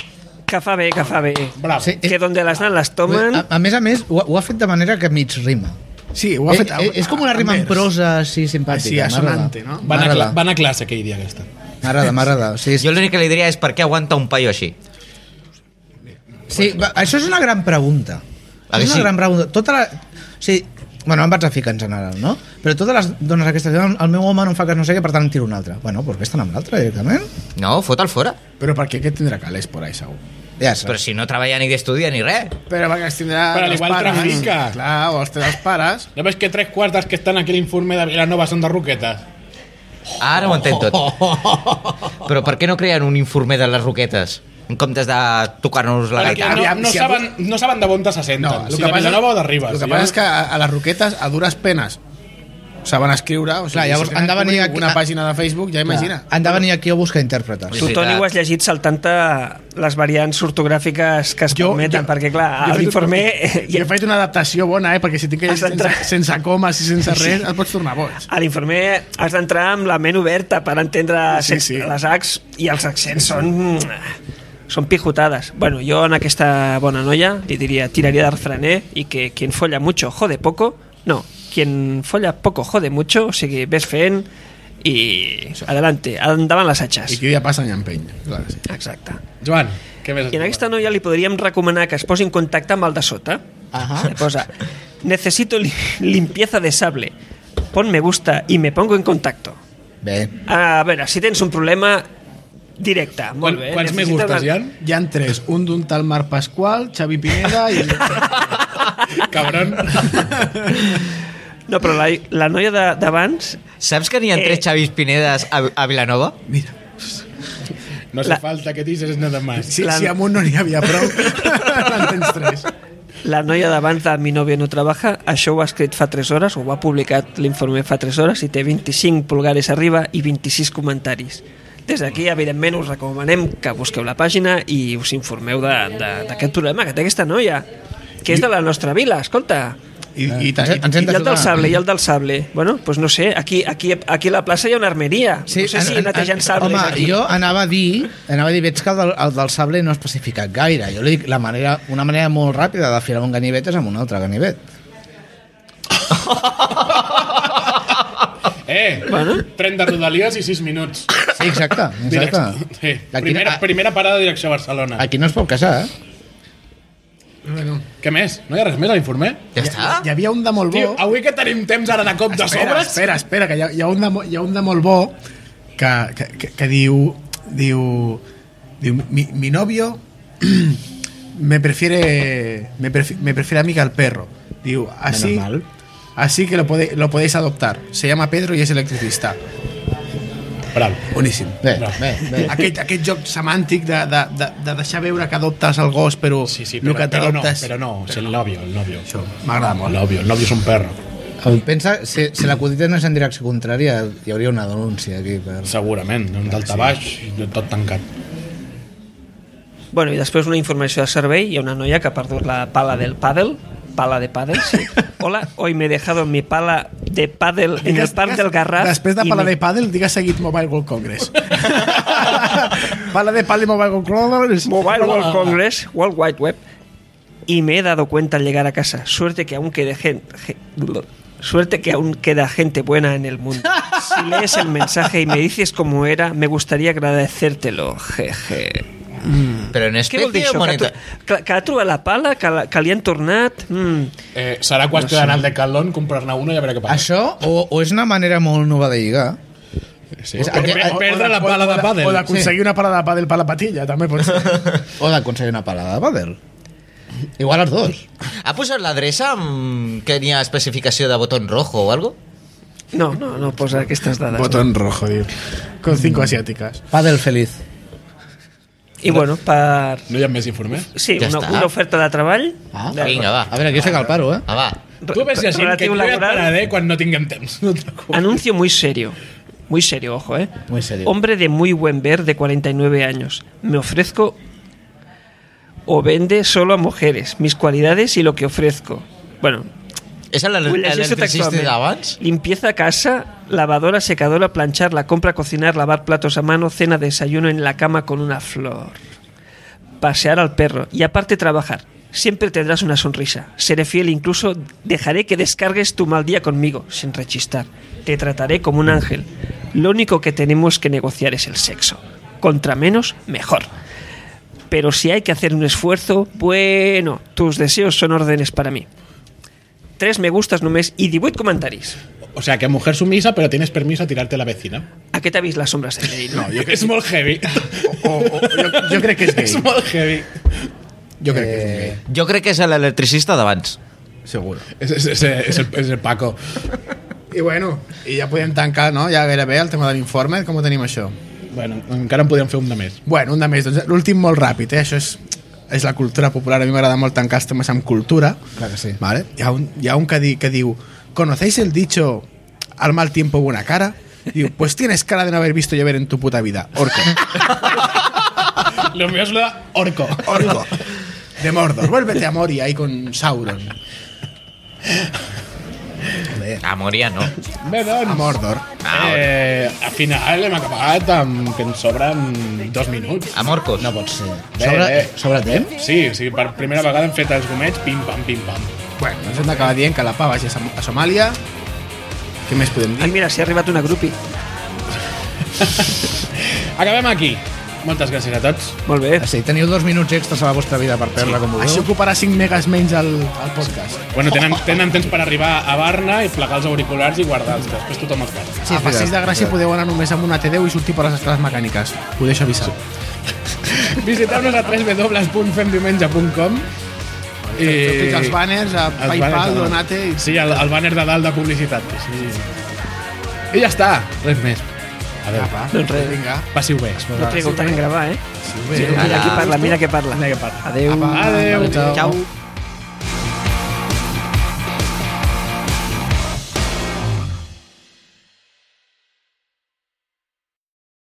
Speaker 2: Que fa bé, que fa bé.
Speaker 1: bravo.
Speaker 4: Sí.
Speaker 5: Eh,
Speaker 2: Que donde las nan les tomen...
Speaker 4: A, a més a més, ho, ha- ho ha fet de manera que mig rima.
Speaker 5: Sí, ho
Speaker 4: Ho
Speaker 5: ha fet...
Speaker 4: eh, és com una rima en
Speaker 5: vers.
Speaker 4: prosa així simpàtica.
Speaker 5: Així, assonante, no?
Speaker 1: Van a, cla-
Speaker 4: M'agrada,
Speaker 1: van a classe aquell dia, aquesta.
Speaker 4: m'agrada, m'agrada. O sigui, és-
Speaker 3: Jo l'únic que li diria és per què aguanta un paio així.
Speaker 4: Sí, va, això és una gran pregunta.
Speaker 3: Ah,
Speaker 4: És
Speaker 3: que
Speaker 4: una
Speaker 3: sí?
Speaker 4: gran pregunta. Tota la... O sigui, bueno, em vaig a ficar en general, no? Però totes les dones aquestes, diuen, el meu home no em fa cas no sé què, per tant en tiro un altre. Bueno, doncs vés-te'n amb l'altre directament.
Speaker 3: No, fota'l fora.
Speaker 5: Però perquè aquest tindrà calés por ahí, segur.
Speaker 4: Ja saps.
Speaker 3: Però si no treballa ni d'estudia ni res.
Speaker 5: Però perquè els tindrà
Speaker 1: Però
Speaker 5: dels
Speaker 1: igual
Speaker 5: pares.
Speaker 1: trafica.
Speaker 5: Clar, o els tindrà els pares.
Speaker 1: ¿No ves que tres cuartas que están aquí en el informe de Vilanova son de Roquetas?
Speaker 3: Ara ho entenc tot. Però per què no creen un informe de les roquetes? En comptes de tocar-nos la
Speaker 1: Perquè
Speaker 3: gaita.
Speaker 1: no,
Speaker 5: Aviam,
Speaker 1: no,
Speaker 5: si
Speaker 1: saben, no saben de on se senten,
Speaker 5: el
Speaker 1: si de Vilanova o de Ribes.
Speaker 5: El que
Speaker 1: Jo-
Speaker 5: passa és que a, a les roquetes, a dures penes, se van escriure... O sigui,
Speaker 4: Clar, llavors
Speaker 5: si
Speaker 4: han
Speaker 5: tenen
Speaker 4: de venir aquí-
Speaker 5: Una pàgina de Facebook, ja imagina.
Speaker 4: Ah, Han de venir aquí a buscar intèrpreters.
Speaker 2: Tu, Toni, ho has llegit saltant-te les variants ortogràfiques que es jo, permeten, jo, perquè, clar,
Speaker 5: jo he fet
Speaker 2: l'informe...
Speaker 5: una- Jo he fet una adaptació bona, eh? Perquè si tinc que
Speaker 2: Has
Speaker 5: llegir sense,
Speaker 2: d'entrar.
Speaker 5: sense comes i sense res, et pots tornar boig.
Speaker 2: A l'informer has d'entrar amb la ment oberta per entendre
Speaker 5: Sí,
Speaker 2: sí,
Speaker 5: sí.
Speaker 2: sí. les Hs i els accents són... són pijotades. Bueno, jo en aquesta bona noia li diria, tiraria de refraner i que quien folla mucho jode poco, no, quien folla poco jode mucho, o sigui, ves fent i adelante, endavant les
Speaker 5: I
Speaker 2: atxes.
Speaker 5: qui dia passa n'empeny. Clar, sí.
Speaker 2: Exacte.
Speaker 1: Joan, què més?
Speaker 2: I en aquesta noia li podríem recomanar que es posi en contacte amb el de sota.
Speaker 4: Ahà.
Speaker 2: Se posa, necesito li- limpieza de sable, pon me gusta y me pongo en contacto.
Speaker 4: Bé,
Speaker 2: A veure, si tens un problema directe,
Speaker 1: Quan,
Speaker 2: molt bé.
Speaker 1: quants me
Speaker 2: necessites
Speaker 1: gustes,
Speaker 2: una-
Speaker 1: Jan?
Speaker 5: Hi han tres, un d'un tal Marc Pasqual, Xavi Pineda i...
Speaker 1: Cabrón.
Speaker 2: No, però la, la noia de- d'abans,
Speaker 3: Saps que n'hi ha
Speaker 2: Eh.
Speaker 3: tres Xavis Pinedes a, a Vilanova?
Speaker 5: Mira,
Speaker 1: No hace
Speaker 2: La-
Speaker 1: falta que dices nada más.
Speaker 5: si,
Speaker 2: La-
Speaker 5: si amb un no n'hi havia prou, en tens tres.
Speaker 2: la noia d'abans de Mi novia no trabaja, això ho ha escrit fa 3 hores, o ho ha publicat l'informe fa 3 hores, i té 25 pulgares arriba i 26 comentaris. Des d'aquí, evidentment, us recomanem que busqueu la pàgina i us informeu de- de- d'aquest problema que té aquesta noia, que és de la nostra vila, escolta.
Speaker 5: I, i, tant.
Speaker 4: Ens- ens hem
Speaker 2: I
Speaker 4: de
Speaker 2: el del
Speaker 4: jugar.
Speaker 2: sable, i el del sable. Bueno, doncs no sé, aquí, aquí, aquí a la plaça hi ha una armeria. Sí, no sé si
Speaker 4: en- en-
Speaker 2: netejant sables
Speaker 4: Home,
Speaker 2: aquí.
Speaker 4: jo anava a dir, anava a dir, veig que el del, el del sable no ha especificat gaire. Jo li dic la manera, una manera molt ràpida d'afilar un ganivet és amb un altre ganivet.
Speaker 1: Eh,
Speaker 2: Bueno.
Speaker 1: tren de Rodalies i 6 minuts.
Speaker 4: Sí, exacte, exacte.
Speaker 1: Direc- Sí.
Speaker 4: Aquí,
Speaker 1: Primera,
Speaker 4: a,
Speaker 1: primera parada de direcció a Barcelona.
Speaker 4: aquí no es pot casar, eh?
Speaker 1: Què més? No hi ha res més a l'informer?
Speaker 3: Ja està?
Speaker 5: Hi havia un de molt bo...
Speaker 1: Tio, avui que tenim temps ara de cop de
Speaker 5: espera,
Speaker 1: sobres...
Speaker 5: espera, espera, que hi ha, hi ha, un, de, mo- hi ha un de molt bo que, que, que, que diu... Diu... diu mi, mi novio me prefiere, me, prefi- me prefiere a mí que al perro. Diu, así...
Speaker 4: Menos mal.
Speaker 5: Así que lo, pode, lo podéis adoptar. Se llama Pedro y es electricista.
Speaker 1: Bravo.
Speaker 5: Boníssim.
Speaker 4: Bé, bé, bé.
Speaker 5: Aquest, aquest joc semàntic de, de, de, de deixar veure que adoptes el gos, però
Speaker 1: Sí, sí,
Speaker 5: el
Speaker 1: però,
Speaker 5: que
Speaker 1: però no,
Speaker 5: t'adoptes...
Speaker 1: però no, és el novio, el novio.
Speaker 5: Això m'agrada
Speaker 1: El
Speaker 5: molt.
Speaker 1: novio, el novio és un perro.
Speaker 4: Pensa, si, si l'acudit no és en direcció contrària, hi hauria una denúncia aquí. Per...
Speaker 1: Segurament, un delta baix, tot tancat.
Speaker 2: Bueno, i després una informació de servei, hi ha una noia que ha perdut la pala del pàdel, pala de pàdel, sí. Hola, hoy me he dejado mi pala de pàdel en el parc del Garraf.
Speaker 5: Després de
Speaker 2: y
Speaker 5: Pala
Speaker 2: me-
Speaker 5: de Paddle, digues seguit Mobile World Congress. Pala de Paddle Mobile World Congress. Ah,
Speaker 2: Mobile World Congress, World Wide Web, y me he dado cuenta al llegar a casa. Suerte que aún quede gente. Suerte que aún queda gente buena en el mundo. Si lees el mensaje y me dices cómo era, me gustaría agradecértelo. Jeje.
Speaker 3: Però en
Speaker 2: Què vol dir això?
Speaker 3: espècie o
Speaker 2: Que,
Speaker 3: moneta?
Speaker 2: ha tro- que, que ha trobat la pala, que, la, que li han tornat... Mm.
Speaker 1: Eh, serà qüestió d'anar al Decathlon, comprar-ne una i a veure què passa.
Speaker 4: Això o, o és una manera molt nova de lligar,
Speaker 1: Sí.
Speaker 4: És-
Speaker 1: O, pe-
Speaker 4: o- o-
Speaker 1: eh, perdre la pala de pàdel.
Speaker 5: O d'aconseguir una pala de pàdel per la patilla, també pot ser.
Speaker 4: o d'aconseguir una palada de pàdel. Igual els dos.
Speaker 3: Ha posat l'adreça amb... que n'hi ha especificació de botó rojo o algo?
Speaker 2: No, no, no posa aquestes dades.
Speaker 5: Botón rojo, tio. Con cinco asiáticas.
Speaker 4: Pàdel feliç.
Speaker 2: I bueno, per...
Speaker 1: No hi ha més informer?
Speaker 2: Sí,
Speaker 3: Ja
Speaker 2: una,
Speaker 3: està.
Speaker 2: una oferta de treball.
Speaker 4: Ah,
Speaker 2: de-
Speaker 3: Vinga, va.
Speaker 4: A veure, aquí sé que el paro, eh?
Speaker 3: Ah, va.
Speaker 1: Tu ves llegint que
Speaker 2: relatiu
Speaker 1: jo ja et
Speaker 2: laboral.
Speaker 1: pararé quan no tinguem temps. No et preocupis.
Speaker 2: Anuncio muy serio. Muy serio, ojo, ¿eh?
Speaker 4: Muy serio.
Speaker 2: Hombre de muy buen ver de 49 años. Me ofrezco o vende solo a mujeres. Mis cualidades y lo que ofrezco. Bueno,
Speaker 3: És el-
Speaker 2: vull
Speaker 3: el-
Speaker 2: llegir-se
Speaker 3: l'electricista
Speaker 2: textualment.
Speaker 3: d'abans?
Speaker 2: Limpieza a casa, lavadora, secadora, planchar, la compra, cocinar, lavar platos a mano, cena, desayuno en la cama con una flor. Pasear al perro y aparte trabajar. Siempre tendrás una sonrisa. Seré fiel, incluso dejaré que descargues tu mal día conmigo, sin rechistar. Te trataré como un ángel. Lo único que tenemos que negociar es el sexo. Contra menos, mejor. Pero si hay que hacer un esfuerzo, bueno, tus deseos son órdenes para mí. Tres me gustas només i 18 comentaris.
Speaker 1: O sea, que mujer sumisa, pero tienes permiso a tirarte a la vecina.
Speaker 2: Aquest ha vist les ombres de Grey, no?
Speaker 1: Jo és molt heavy.
Speaker 5: O, o, jo, jo crec que és
Speaker 1: és
Speaker 5: gay.
Speaker 1: molt heavy.
Speaker 5: Jo crec que és
Speaker 2: Eh.
Speaker 5: gay.
Speaker 3: Jo crec que és l'electricista d'abans.
Speaker 5: Seguro.
Speaker 1: És, és, és, és, el, és el Paco.
Speaker 5: I bueno, i ja podem tancar, no? Ja gairebé el tema de l'informe, com ho tenim això?
Speaker 1: Bueno, encara en podríem fer un de més.
Speaker 5: Bueno, un de més, doncs l'últim molt ràpid, eh? Això és, és la cultura popular. A mi m'agrada molt tancar els temes amb cultura.
Speaker 4: Clar que sí.
Speaker 5: Vale? Hi, ha un, hi ha un que, di, que diu ¿Conocéis el dicho al mal tiempo buena cara? Diu, pues tienes cara de no haber visto llover en tu puta vida. Orco.
Speaker 1: Lo mío es lo de orco.
Speaker 5: Orco. De Mordor. Vuélvete a Moria ahí con Sauron.
Speaker 4: Eh.
Speaker 3: A Moria no.
Speaker 1: Bé,
Speaker 5: A
Speaker 1: doncs,
Speaker 5: Mordor.
Speaker 1: eh, al final hem acabat amb que ens sobren dos minuts.
Speaker 3: A Morcos.
Speaker 4: No pot ser.
Speaker 1: Bé,
Speaker 4: Sobre,
Speaker 1: bé.
Speaker 4: sobre temps?
Speaker 1: Sí, sí, per primera vegada hem fet els gomets, pim-pam, pim-pam.
Speaker 5: Bueno, ens hem d'acabar dient que la pa vagi a Som- a Somàlia. Què més podem
Speaker 2: Ai,
Speaker 5: dir?
Speaker 2: mira, s'hi ha arribat una grupi.
Speaker 1: Acabem aquí. Moltes gràcies a tots.
Speaker 2: Molt bé.
Speaker 4: Sí, teniu dos minuts extras a la vostra vida per perdre-la com
Speaker 5: Això
Speaker 4: vulgueu.
Speaker 5: ocuparà 5 megas menys al, al podcast.
Speaker 1: Bueno, tenen, tenen temps per arribar a Barna i plegar els auriculars i guardar-los, que després tothom els guarda.
Speaker 5: Sí, a Passeig de Gràcia podeu anar només amb una T10 i sortir per les escales mecàniques. Ho deixo avisar.
Speaker 1: Visiteu-nos a www.femdiumenge.com i...
Speaker 2: Eh,
Speaker 5: Tots els banners, a
Speaker 1: Els
Speaker 5: Paypal,
Speaker 1: banners de dalt.
Speaker 5: Donate... i-
Speaker 1: Sí, el, el banner de dalt de publicitat. Sí. I ja està, res més. Adéu.
Speaker 5: Apa,
Speaker 2: Doncs res.
Speaker 5: Vinga.
Speaker 1: Passiu bé.
Speaker 2: No trigueu tant en gravar, eh?
Speaker 5: bé.
Speaker 2: Mira qui parla, mira què parla.
Speaker 1: Vinga, que parla.
Speaker 2: Adéu.
Speaker 1: Adéu.
Speaker 3: Ciao.